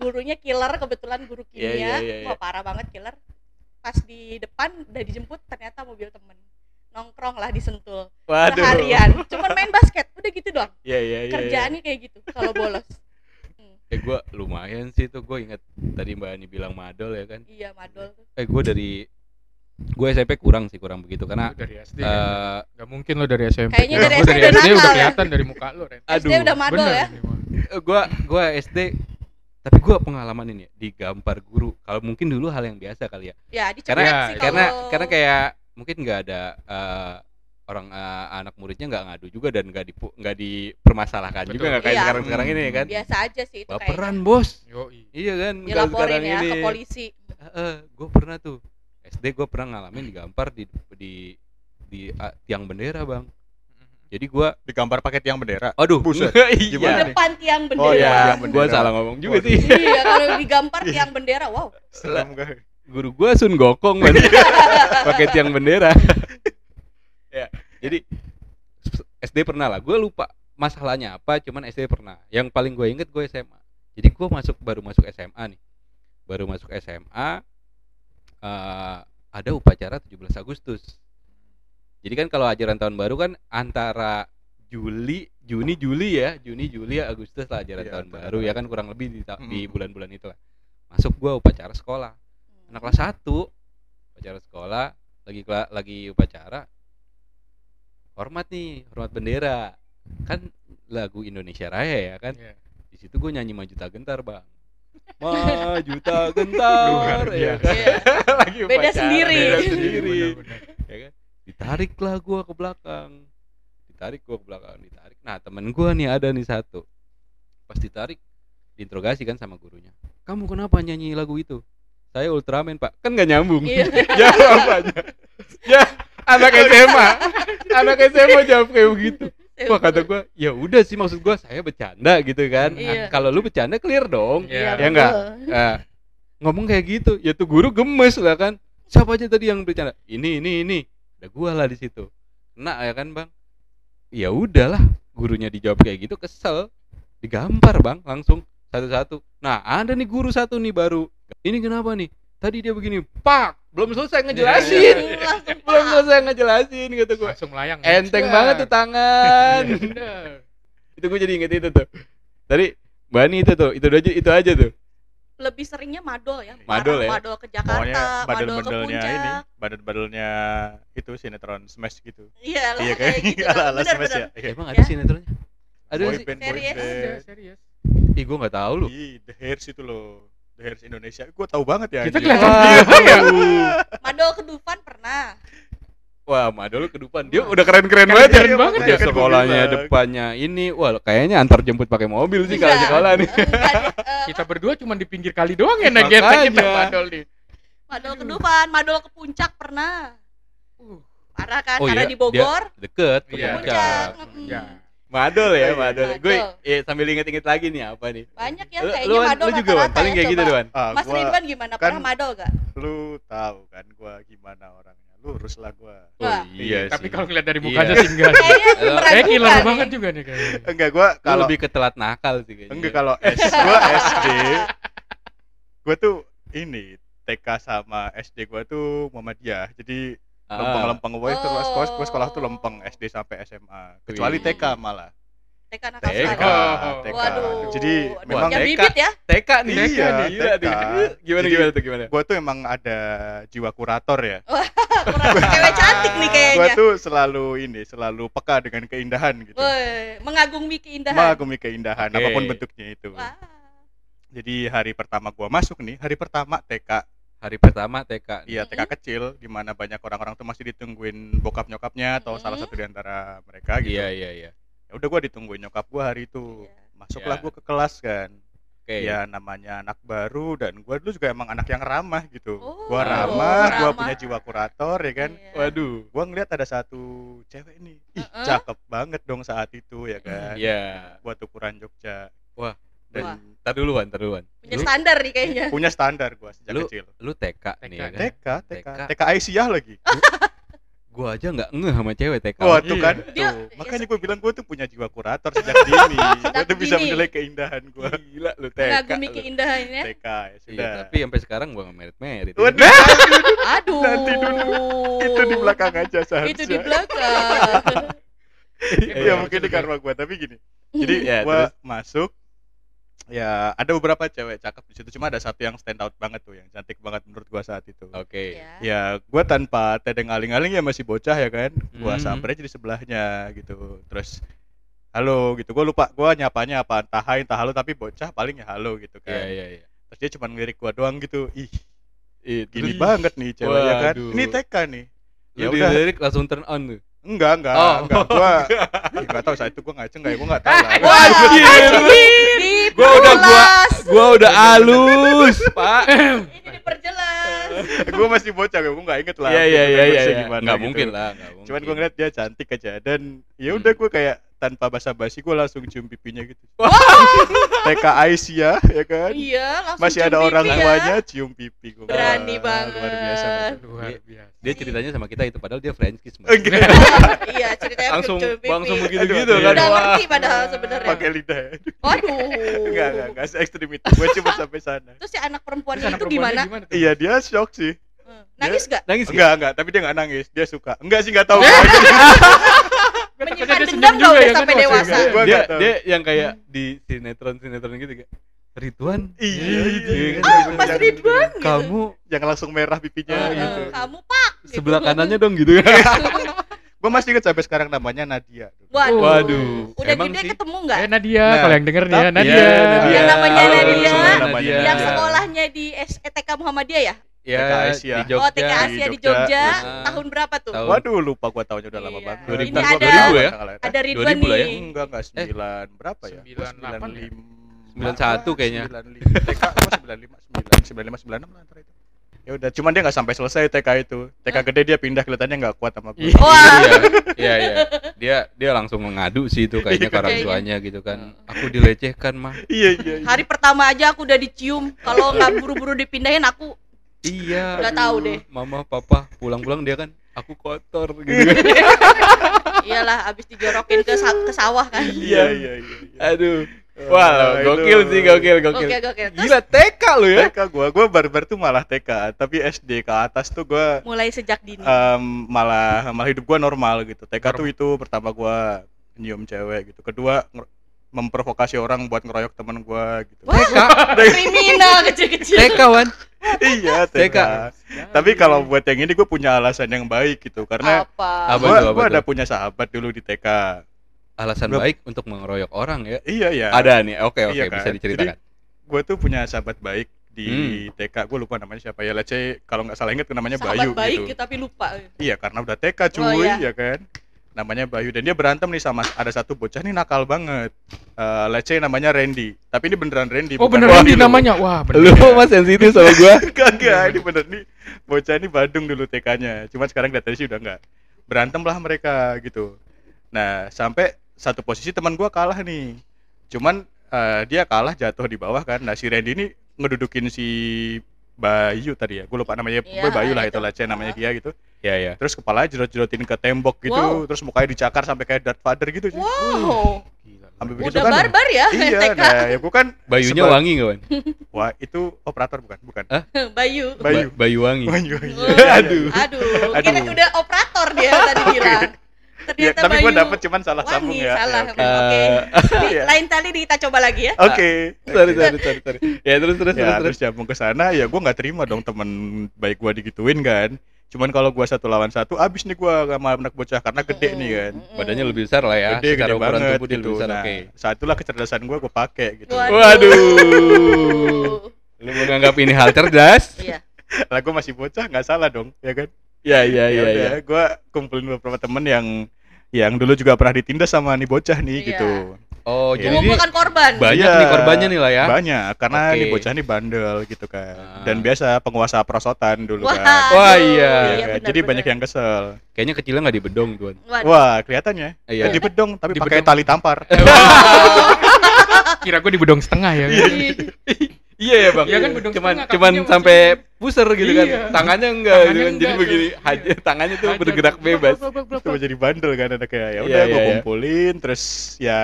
Speaker 2: gurunya killer kebetulan guru kimia
Speaker 1: Iya, iya, iya, iya.
Speaker 2: wah parah banget killer pas di depan udah dijemput ternyata mobil temen nongkrong lah disentul
Speaker 1: Waduh.
Speaker 2: seharian cuman main basket udah gitu doang
Speaker 1: Iya, iya, iya.
Speaker 2: kerjaannya kayak gitu kalau bolos
Speaker 1: Eh gue lumayan sih tuh gue inget tadi Mbak Ani bilang madol ya kan.
Speaker 2: iya madol tuh
Speaker 1: Eh gue dari gue SMP kurang sih kurang begitu karena
Speaker 3: Lu dari SD kan?
Speaker 1: eh
Speaker 3: nggak mungkin lo dari SMP
Speaker 2: Kayaknya
Speaker 3: Kalau
Speaker 2: dari
Speaker 3: gua
Speaker 2: SD udah nakal
Speaker 3: udah
Speaker 2: ya.
Speaker 3: kelihatan dari muka lo Ren
Speaker 1: eh, aduh.
Speaker 2: SD udah madol ya
Speaker 3: ini mah.
Speaker 1: Eh, gua gua SD tapi gua pengalaman ini ya, digampar guru kalau mungkin dulu hal yang biasa kali ya
Speaker 2: ya dicoret
Speaker 1: Karena-
Speaker 3: ya,
Speaker 2: sih
Speaker 1: karena
Speaker 2: kalau-
Speaker 1: karena kayak mungkin nggak ada eh, orang eh, anak muridnya nggak ngadu juga dan nggak di nggak dipermasalahkan
Speaker 3: Betul.
Speaker 1: juga nggak kayak
Speaker 2: Iya.
Speaker 1: sekarang sekarang ini ya kan
Speaker 2: biasa aja sih itu kayak
Speaker 1: baperan bos
Speaker 3: Yoi.
Speaker 1: iya kan nggak
Speaker 2: dilaporin
Speaker 1: sekarang
Speaker 2: ya
Speaker 1: ini
Speaker 2: ke polisi
Speaker 1: gue pernah tuh SD gue pernah ngalamin digampar di di di ah, tiang bendera bang jadi gua
Speaker 4: digambar pakai tiang bendera
Speaker 1: aduh
Speaker 4: Buset,
Speaker 2: di
Speaker 1: [LAUGHS] iya
Speaker 4: gimana?
Speaker 2: depan tiang bendera
Speaker 1: oh ya
Speaker 4: Tiang bendera.
Speaker 1: gua salah ngomong juga
Speaker 4: Waduh.
Speaker 1: sih
Speaker 2: iya kalau digampar tiang bendera wow
Speaker 4: serem kan
Speaker 1: guru gua Sun Gokong Mas. pakai tiang bendera ya jadi SD pernah lah gue lupa masalahnya apa cuman SD pernah yang paling gue inget gue SMA jadi gue masuk baru masuk SMA nih baru masuk SMA eh, ada upacara 17 Agustus jadi kan kalau ajaran tahun baru kan antara Juli Juni Juli ya Juni Juli ya, Agustus lah ajaran
Speaker 4: Iya,
Speaker 1: tahun
Speaker 4: antara-
Speaker 1: baru ya kan kurang lebih di, ta- di
Speaker 4: Mm.
Speaker 1: bulan-bulan itu lah masuk gue upacara sekolah anak
Speaker 2: Iya,
Speaker 1: kelas 1 upacara sekolah lagi kela- lagi upacara hormat nih hormat bendera kan lagu Indonesia Raya ya kan
Speaker 3: Iya.
Speaker 1: di situ gue nyanyi maju tak gentar
Speaker 3: [LAUGHS]
Speaker 1: bang maju tak gentar
Speaker 3: Luar
Speaker 1: ya
Speaker 3: biasa.
Speaker 1: kan?
Speaker 2: Iya.
Speaker 1: [LAUGHS] lagi
Speaker 2: Beda
Speaker 1: upacara,
Speaker 2: sendiri.
Speaker 1: beda
Speaker 3: Iya,
Speaker 1: sendiri
Speaker 3: benar-benar.
Speaker 1: ya kan ditariklah gua ke belakang ditarik gua ke belakang ditarik nah temen gua nih ada nih satu pas ditarik diinterogasi kan sama gurunya kamu kenapa nyanyi lagu itu saya Ultraman pak kan nggak nyambung
Speaker 2: Iya.
Speaker 1: ya apanya ya anak SMA anak SMA jawab kayak begitu wah kata gue ya udah sih maksud gue saya bercanda gitu kan
Speaker 2: Iya.
Speaker 1: Ah, kalau lu bercanda clear dong
Speaker 3: Iya,
Speaker 1: ya enggak Ah, ngomong kayak gitu ya tuh guru gemes lah kan siapa aja tadi yang bercanda ini ini ini ada gua lah di situ kena ya kan bang ya udahlah gurunya dijawab kayak gitu kesel digampar bang langsung satu-satu nah ada nih guru satu nih baru ini kenapa nih tadi dia begini pak belum selesai
Speaker 2: Langsung,
Speaker 1: ngejelasin
Speaker 2: langsung,
Speaker 1: belum
Speaker 2: Pak.
Speaker 1: selesai ngejelasin gitu gua
Speaker 3: langsung melayang
Speaker 1: enteng banget tuh tangan [LAUGHS] itu gua jadi inget itu tuh tadi Bani itu tuh, itu aja, itu aja tuh.
Speaker 2: lebih seringnya madol ya Parah,
Speaker 1: Madol ya?
Speaker 2: madol ke
Speaker 4: Pokoknya
Speaker 2: Jakarta madol ke
Speaker 4: badel-badelnya
Speaker 2: puncak
Speaker 4: ini, badel-badelnya itu sinetron Smash gitu.
Speaker 2: iya lah
Speaker 4: Iya
Speaker 2: kayak
Speaker 1: [LAUGHS]
Speaker 4: kayak
Speaker 2: gitu
Speaker 4: ala-ala
Speaker 2: bener
Speaker 4: Smash ya. Iya.
Speaker 1: Emang
Speaker 2: ada Ya.
Speaker 1: sinetronnya? Ada
Speaker 4: Boy
Speaker 1: sih?
Speaker 4: band, boy
Speaker 2: Serius?
Speaker 4: band.
Speaker 3: serius
Speaker 1: Ih, gue nggak tahu lu.
Speaker 4: Ih, The Hairs itu loh. The Hairs Indonesia. Gue tahu banget ya.
Speaker 3: Kita
Speaker 4: anjing.
Speaker 3: kelihatan
Speaker 2: madol ke Dufan pernah
Speaker 1: Wah, Madol ke depan. Dia
Speaker 2: Iya,
Speaker 1: udah keren-keren
Speaker 3: Keren
Speaker 1: banget ya.
Speaker 3: banget
Speaker 4: makanya
Speaker 1: Dia
Speaker 4: kan gua
Speaker 1: sekolahnya
Speaker 4: bilang.
Speaker 1: depannya ini. Wah, kayaknya antar jemput pakai mobil sih
Speaker 2: Bisa.
Speaker 1: kalau sekolah nih.
Speaker 2: Iya. Enggak, di-
Speaker 1: [LAUGHS]
Speaker 2: eh,
Speaker 3: kita berdua cuma di pinggir kali doang ya nageta kita
Speaker 1: Makanya.
Speaker 3: madol nih
Speaker 2: madol ke Dufan madol ke puncak pernah
Speaker 3: Uh,
Speaker 2: parah kan
Speaker 1: Oh,
Speaker 2: karena
Speaker 1: iya,
Speaker 2: di Bogor
Speaker 1: Deket ke
Speaker 3: Iya.
Speaker 1: puncak.
Speaker 2: Puncak. Mm-mm.
Speaker 3: ya
Speaker 1: Madol ya, Madol.
Speaker 2: Iya, Madol.
Speaker 1: Gue ya, sambil inget-inget lagi nih apa nih.
Speaker 2: banyak ya
Speaker 1: Lu,
Speaker 2: kayaknya
Speaker 1: lu, Wan,
Speaker 2: madol
Speaker 1: lu juga Wan,
Speaker 2: rata-rata
Speaker 1: paling
Speaker 2: ya,
Speaker 1: kayak gitu
Speaker 2: coba.
Speaker 1: deh, Wan.
Speaker 4: Ah,
Speaker 2: Mas
Speaker 4: gua-
Speaker 2: Ridwan gimana
Speaker 4: kan-
Speaker 2: pernah madol gak
Speaker 4: lu tahu kan gua gimana orangnya. Lurus lah gua.
Speaker 1: Oh,
Speaker 2: Wah.
Speaker 1: iya
Speaker 3: tapi
Speaker 1: sih.
Speaker 3: kalau ngeliat dari
Speaker 1: Iya.
Speaker 3: mukanya sih enggak sih.
Speaker 2: kayaknya
Speaker 1: Lu-
Speaker 2: meragukan
Speaker 3: kayak killer
Speaker 2: nih.
Speaker 3: banget juga nih kayaknya
Speaker 4: Enggak gua
Speaker 1: Lu
Speaker 4: kalau
Speaker 1: lebih ke iya. telat nakal sih kayaknya.
Speaker 4: enggak kalau S gua SD gua tuh ini TK sama SD gua tuh Muhammadiyah. Jadi
Speaker 1: Ah.
Speaker 4: lempeng-lempeng gue
Speaker 2: Oh.
Speaker 4: terus sekolah, gua sekolah tuh lempeng SD sampai SMA. Kecuali
Speaker 2: Wih.
Speaker 4: TK malah.
Speaker 2: TK nakal
Speaker 1: TK.
Speaker 4: TK,
Speaker 2: sekali.
Speaker 3: Oh.
Speaker 4: TK.
Speaker 2: Waduh.
Speaker 4: Jadi
Speaker 2: Aduh,
Speaker 4: memang
Speaker 2: ya
Speaker 1: TK.
Speaker 2: bibit ya.
Speaker 1: TK nih.
Speaker 4: Iya,
Speaker 1: Iya, gila
Speaker 4: TK.
Speaker 1: nih. Gimana
Speaker 4: Jadi-
Speaker 1: gimana tuh gimana?
Speaker 4: gue ya, tuh emang ada jiwa kurator ya.
Speaker 2: Kurang cewek cantik nih
Speaker 4: Gue
Speaker 2: kayaknya.
Speaker 4: tuh selalu ini, selalu peka dengan keindahan gitu.
Speaker 2: Woi, mengagumi keindahan.
Speaker 4: Mengagumi keindahan
Speaker 1: Oke.
Speaker 4: apapun bentuknya itu.
Speaker 2: Wah.
Speaker 4: Jadi hari pertama gua masuk nih, hari pertama TK.
Speaker 1: Hari pertama TK. nih.
Speaker 4: Iya, TK
Speaker 2: Mm-mm.
Speaker 4: kecil Gimana banyak orang-orang tuh masih ditungguin bokap nyokapnya atau salah
Speaker 2: Mm-mm.
Speaker 4: satu di antara mereka gitu.
Speaker 1: Iya, iya, iya.
Speaker 4: Ya udah gua ditungguin nyokap gua hari itu.
Speaker 2: Iya.
Speaker 4: Masuklah
Speaker 1: Iya.
Speaker 4: gua ke kelas kan.
Speaker 1: Oke.
Speaker 4: ya namanya anak baru dan gua dulu juga emang anak yang ramah gitu
Speaker 2: Oh,
Speaker 4: gua ramah
Speaker 2: ramah.
Speaker 4: gua punya jiwa kurator ya kan
Speaker 2: Iya.
Speaker 1: Waduh.
Speaker 4: gua ngeliat ada satu cewek nih ih
Speaker 2: Heeh.
Speaker 4: cakep banget dong saat itu ya kan
Speaker 1: Iya.
Speaker 4: buat ukuran Jogja
Speaker 1: Wah.
Speaker 2: Wah.
Speaker 4: dan
Speaker 1: Ntar dulu, Wan, ntar dulu, Wan.
Speaker 2: Punya
Speaker 1: Lu-
Speaker 2: standar nih kayaknya.
Speaker 4: punya standar gua sejak
Speaker 1: Lu-
Speaker 4: kecil
Speaker 1: lu TK, nih ya
Speaker 3: TK.
Speaker 1: kan?
Speaker 4: TK TK
Speaker 1: TK.
Speaker 4: TK Aisyah lagi
Speaker 1: Gua aja nggak ngeh sama cewek TK.
Speaker 4: wah tuh
Speaker 3: Iya.
Speaker 4: kan
Speaker 2: Dia-
Speaker 4: tuh makanya gua bilang gua tuh punya jiwa kurator sejak dini gua tuh bisa
Speaker 2: dini.
Speaker 4: menilai keindahan gua
Speaker 1: Gila lu TK.
Speaker 2: Mengagumi
Speaker 1: lu.
Speaker 2: keindahannya.
Speaker 4: TK ya
Speaker 1: Iya,
Speaker 4: sudah
Speaker 1: tapi sampai sekarang gua nggak merit-merit.
Speaker 4: Waduh,
Speaker 2: Aduh.
Speaker 4: Nanti dulu. itu di belakang aja seharusnya
Speaker 2: Itu di belakang.
Speaker 4: ya
Speaker 1: Iya,
Speaker 4: mungkin di
Speaker 3: betul-betul.
Speaker 4: karma gua tapi gini jadi
Speaker 1: Ya,
Speaker 4: gua masuk ya ada beberapa cewek cakep di situ cuma ada satu yang stand out banget tuh yang cantik banget menurut gua saat itu
Speaker 1: Oke.
Speaker 2: Ya.
Speaker 4: ya gua tanpa tedeng aling-aling ya masih bocah ya kan
Speaker 1: Mhm.
Speaker 4: gua samperin jadi sebelahnya gitu terus halo gitu gua lupa gua nyapanya apa entah hai entah halo tapi bocah paling ya halo gitu
Speaker 1: Iya,
Speaker 4: kan
Speaker 1: iya, iya.
Speaker 4: terus dia cuma ngelirik gua doang gitu ih
Speaker 1: Ih,
Speaker 4: gini
Speaker 1: terus-
Speaker 4: banget nih cewek ya kan
Speaker 1: Waduh.
Speaker 4: ini TK nih
Speaker 1: Lu
Speaker 4: ya udah.
Speaker 1: dilirik langsung turn on tuh.
Speaker 4: enggak enggak
Speaker 1: Oh.
Speaker 4: enggak gua
Speaker 1: [LAUGHS]
Speaker 4: enggak tahu saat itu gua ngaceng enggak ya gua enggak tahu lah
Speaker 1: Gua udah- gua-
Speaker 2: Diperjelas.
Speaker 1: Gua udah [LAUGHS] halus, Pak.
Speaker 2: Ini diperjelas.
Speaker 4: [LAUGHS] gue masih bocah gue nggak inget lah
Speaker 1: Iya, iya, iya, iya.
Speaker 4: konteksnya
Speaker 1: iya.
Speaker 4: gimana
Speaker 1: Nggak
Speaker 4: gitu.
Speaker 1: mungkin lah, nggak mungkin.
Speaker 4: cuman gue ngeliat dia cantik aja dan ya udah
Speaker 1: Hmm.
Speaker 4: gue kayak tanpa basa-basi gue langsung cium pipinya gitu [LAUGHS] TK Aisyah ya kan
Speaker 2: Iya, langsung
Speaker 4: masih
Speaker 2: cium
Speaker 4: ada
Speaker 2: pipi
Speaker 4: orang
Speaker 2: ya.
Speaker 4: tuanya cium pipi gue
Speaker 2: Berani
Speaker 4: luar biasa
Speaker 2: banget.
Speaker 3: luar biasa
Speaker 1: dia ceritanya sama kita itu padahal dia French kiss. Mas.
Speaker 4: Enggak,
Speaker 2: Iya, ceritanya
Speaker 1: Langsung
Speaker 2: cium pipi.
Speaker 1: langsung begitu gitu
Speaker 4: Aduh,
Speaker 1: kan.
Speaker 2: Udah
Speaker 1: Wah.
Speaker 2: ngerti padahal sebenarnya.
Speaker 4: [LAUGHS] pakai lidah ya
Speaker 2: Waduh.
Speaker 4: enggak enggak enggak se ekstrim itu gue
Speaker 2: [LAUGHS]
Speaker 4: cuma sampai sana
Speaker 2: Terus si anak perempuannya
Speaker 3: Terus anak
Speaker 2: itu
Speaker 3: perempuannya
Speaker 2: gimana?
Speaker 3: tuh?
Speaker 4: iya dia shock sih
Speaker 2: Hmm. Nangis gak?
Speaker 1: Nangis gitu. nggak?
Speaker 4: enggak enggak tapi dia nggak nangis dia suka enggak sih nggak tahu
Speaker 1: Eh?
Speaker 3: Gua takutnya
Speaker 2: Menyimpan dendam
Speaker 3: dia
Speaker 2: gak
Speaker 3: senyum juga
Speaker 2: udah
Speaker 3: ya kan,
Speaker 2: sampai
Speaker 3: masih
Speaker 2: dewasa?
Speaker 3: enggak.
Speaker 4: Gua
Speaker 1: dia
Speaker 4: nggak tahu.
Speaker 1: dia yang kayak di sinetron-sinetron gitu kayak Ridwan,
Speaker 4: [LAUGHS] iya iya
Speaker 1: Iya,
Speaker 4: iya.
Speaker 1: kan?
Speaker 2: Mas
Speaker 4: Jangan-
Speaker 2: Ridwan gitu.
Speaker 1: kamu ya,
Speaker 4: jangan langsung merah pipinya
Speaker 2: Eh,
Speaker 4: gitu
Speaker 2: Kamu pak. gitu.
Speaker 1: sebelah kanannya dong gitu kan.
Speaker 4: gue masih ingat sampai sekarang namanya Nadia
Speaker 2: [LAUGHS] Waduh.
Speaker 1: Waduh,
Speaker 2: Udah
Speaker 1: emang
Speaker 2: gede
Speaker 1: sih.
Speaker 2: ketemu nggak?
Speaker 3: eh Nadia
Speaker 4: Nah,
Speaker 3: kalau yang denger nih ya
Speaker 4: tapi-
Speaker 3: Nadia
Speaker 1: Iya,
Speaker 2: Nadia. Yang namanya
Speaker 1: Halo,
Speaker 2: Nadia.
Speaker 1: Nadia.
Speaker 2: Yang
Speaker 1: Iya.
Speaker 2: sekolahnya di STK Muhammadiyah ya?
Speaker 1: Ya,
Speaker 4: TK Asia.
Speaker 1: di
Speaker 2: Oh, TK
Speaker 1: Jogja.
Speaker 2: Asia di
Speaker 4: Jogja.
Speaker 2: Jogja.
Speaker 1: Iya.
Speaker 2: Tahun berapa tuh?
Speaker 1: Tahun-
Speaker 4: Waduh lupa gua tahunnya udah lama
Speaker 2: Iya.
Speaker 4: banget.
Speaker 1: 2000,
Speaker 4: Ini gua
Speaker 1: 2000 ya?
Speaker 4: nggak tahu.
Speaker 2: Ada Ridwan
Speaker 1: 2000 lah ya.
Speaker 2: nih.
Speaker 4: Enggak enggak 9 berapa ya? Gua
Speaker 3: 98 ya?
Speaker 4: 95.
Speaker 1: 91 kayaknya.
Speaker 4: [LAUGHS] 95. TK gua 95 9 95 96 lah antara itu. ya udah cuman dia nggak sampai selesai TK itu TK gede dia pindah kelihatannya nggak kuat sama guru
Speaker 3: Iya.
Speaker 2: Wah.
Speaker 1: Iya, iya, iya. Dia dia langsung mengadu sih [LAUGHS] itu kayaknya ke orang
Speaker 2: Kayaknya.
Speaker 1: tuanya gitu kan. Aku dilecehkan mah.
Speaker 4: iya iya iya.
Speaker 2: Hari pertama aja aku udah dicium. Kalau nggak buru-buru dipindahin aku
Speaker 1: Iya.
Speaker 2: Nggak tahu deh.
Speaker 1: Mama, papa pulang-pulang dia kan aku kotor gitu. kan.
Speaker 2: iyalah abis dijorokin ke, sa- ke sawah kan.
Speaker 4: iya iya iya iya.
Speaker 1: [LAUGHS] Aduh.
Speaker 4: Wah,
Speaker 1: Wah,
Speaker 4: itu-
Speaker 1: Eh, gokil sih, gokil, gokil.
Speaker 2: Oke, oke. Terus
Speaker 1: Gila TK lu ya.
Speaker 4: TK gua gua barbar tuh malah TK tapi SD ke atas tuh gua
Speaker 2: mulai sejak dini.
Speaker 4: em, malah malah hidup gua normal gitu TK tuh
Speaker 3: Normal.
Speaker 4: itu pertama gua nyium cewek gitu kedua nger- memprovokasi orang buat ngeroyok teman gua gitu
Speaker 1: TK,
Speaker 2: Kriminal kecil-kecil.
Speaker 1: TK wan.
Speaker 4: [LAUGHS] iya TK,
Speaker 1: TK.
Speaker 4: tapi kalau buat yang ini gua punya alasan yang baik gitu karena
Speaker 1: Apa?
Speaker 2: Apa?
Speaker 4: gua,
Speaker 1: tuh,
Speaker 4: gua
Speaker 1: tuh?
Speaker 4: ada punya sahabat dulu di TK
Speaker 1: Alasan
Speaker 4: Gua-
Speaker 1: baik untuk mengeroyok orang ya.
Speaker 4: iya ya
Speaker 1: Ada nih. Oke, oke,
Speaker 4: Iya kan?
Speaker 1: bisa diceritakan.
Speaker 4: gue tuh punya sahabat baik di TK gue lupa namanya siapa ya let's say kalau nggak salah inget namanya
Speaker 2: Sahabat
Speaker 4: Bayu
Speaker 2: baik
Speaker 4: gitu.
Speaker 2: gitu, tapi lupa.
Speaker 4: iya karena udah TK cuy
Speaker 2: Oh, iya.
Speaker 4: ya kan namanya Bayu dan dia berantem nih sama ada satu bocah nih nakal banget Eh let's say namanya Randy tapi ini beneran Randy
Speaker 3: Oh
Speaker 4: bukan
Speaker 3: beneran di
Speaker 4: Randy [LAUGHS] lu.
Speaker 3: namanya. Wah,
Speaker 1: [LAUGHS] Lu
Speaker 3: bener.
Speaker 1: mas sensitif sama gua.
Speaker 4: kagak ini bener nih bocah ini Badung dulu TK-nya cuma sekarang kelihatannya sih udah nggak berantem lah mereka gitu nah sampai satu posisi teman gua kalah nih cuman eh, dia kalah jatuh di bawah kan nah si Randy ini ngedudukin si Bayu tadi ya gue lupa
Speaker 2: Iya,
Speaker 4: namanya pokoknya Bayu lah
Speaker 2: itu.
Speaker 4: itu lah C namanya dia gitu
Speaker 1: Ya ya.
Speaker 4: terus kepalanya jerot-jerotin ke tembok gitu
Speaker 2: Wow.
Speaker 4: terus mukanya dicakar sampai kayak Darth Vader gitu sih
Speaker 2: Wow.
Speaker 3: Gila.
Speaker 4: Sampai begitu
Speaker 2: Udah
Speaker 4: kan
Speaker 2: barbar ya
Speaker 4: [LAUGHS] iya
Speaker 2: TK.
Speaker 4: nah ya gua kan
Speaker 1: Bayunya
Speaker 4: sebab-
Speaker 1: wangi gak wan?
Speaker 4: wah itu operator bukan bukan
Speaker 2: Bayu.
Speaker 4: [LAUGHS] Bayu.
Speaker 1: Ba- Bayu
Speaker 4: [LAUGHS]
Speaker 1: wangi.
Speaker 2: Oh.
Speaker 4: Bayu, iya.
Speaker 1: Aduh.
Speaker 2: Aduh,
Speaker 4: Aduh.
Speaker 2: kira udah operator dia tadi bilang.
Speaker 4: Ya,
Speaker 2: Ternyata
Speaker 4: tapi gue
Speaker 2: Bayu
Speaker 4: dapet cuman salah
Speaker 2: wangi,
Speaker 4: sambung ya.
Speaker 2: salah.
Speaker 4: Ya, oke.
Speaker 2: Oke. Di-
Speaker 4: Iya.
Speaker 2: Lain kali di- kita coba lagi ya.
Speaker 4: Oke.
Speaker 1: [LAUGHS] Ah, Sorry, sorry, sorry, sorry. Ya terus terus
Speaker 4: Ya
Speaker 1: terus.
Speaker 4: terus nyambung ke sana ya gua nggak terima dong temen baik gua digituin kan. Cuman kalau gua satu lawan satu abis nih gua sama anak bocah karena gede
Speaker 2: Hmm.
Speaker 4: nih kan.
Speaker 2: Mm-mm.
Speaker 1: Badannya lebih besar lah ya.
Speaker 4: Gede
Speaker 1: Secara
Speaker 4: gede
Speaker 1: ukuran
Speaker 4: banget
Speaker 1: tubuh dia
Speaker 4: gitu.
Speaker 1: lebih besar.
Speaker 4: nah,
Speaker 1: Oke.
Speaker 4: saatulah kecerdasan gua gua pakai gitu.
Speaker 2: Waduh.
Speaker 1: Waduh. Lu menganggap ini hal cerdas?
Speaker 2: [LAUGHS] Iya.
Speaker 4: Lah gua masih bocah nggak salah dong, [LAUGHS] ya kan?
Speaker 1: Ya [LAUGHS] ya ya
Speaker 4: udah,
Speaker 1: ya.
Speaker 4: gua kumpulin beberapa temen yang yang dulu juga pernah ditindas sama nih bocah nih
Speaker 2: Iya.
Speaker 4: gitu.
Speaker 1: Oh,
Speaker 4: Iya.
Speaker 1: jadi dia
Speaker 3: kan
Speaker 2: Mengumpulkan korban.
Speaker 1: [LAUGHS] banyak
Speaker 4: Iya.
Speaker 1: nih korbannya nih lah ya.
Speaker 4: Banyak karena
Speaker 1: Oke.
Speaker 4: nih bocah nih bandel gitu kan.
Speaker 1: Ah.
Speaker 4: Dan biasa penguasa perosotan dulu
Speaker 2: Wah.
Speaker 4: kan.
Speaker 1: Wah, iya.
Speaker 4: Iya
Speaker 1: Iya,
Speaker 4: kan? Jadi banyak yang kesel.
Speaker 1: Kayaknya kecilnya nggak dibedong tuan.
Speaker 2: Waduh.
Speaker 4: Wah, kelihatannya.
Speaker 1: Iya.
Speaker 4: Di bedong
Speaker 3: Di
Speaker 4: tapi pakai
Speaker 3: bedong.
Speaker 4: tali tampar.
Speaker 2: Eh,
Speaker 4: [LAUGHS]
Speaker 3: [LAUGHS] Kira gue di bedong setengah ya.
Speaker 1: Iya ya bang.
Speaker 3: Iya kan, bedong
Speaker 1: cuman
Speaker 3: setengah,
Speaker 1: cuman
Speaker 3: kakinya masih-
Speaker 1: sampai puser gitu kan.
Speaker 3: Iya.
Speaker 1: Tangannya enggak,
Speaker 3: Tangannya
Speaker 1: kan. jadi
Speaker 3: enggak,
Speaker 1: begini.
Speaker 3: tuh.
Speaker 1: aja tangannya tuh
Speaker 3: Hajar,
Speaker 1: bergerak
Speaker 3: blok,
Speaker 1: bebas.
Speaker 3: blok, blok, blok,
Speaker 4: Cuma
Speaker 3: blok.
Speaker 4: jadi bandel kan ada kayak ya
Speaker 1: Iya,
Speaker 4: udah gue
Speaker 1: iya, iya.
Speaker 4: kumpulin terus ya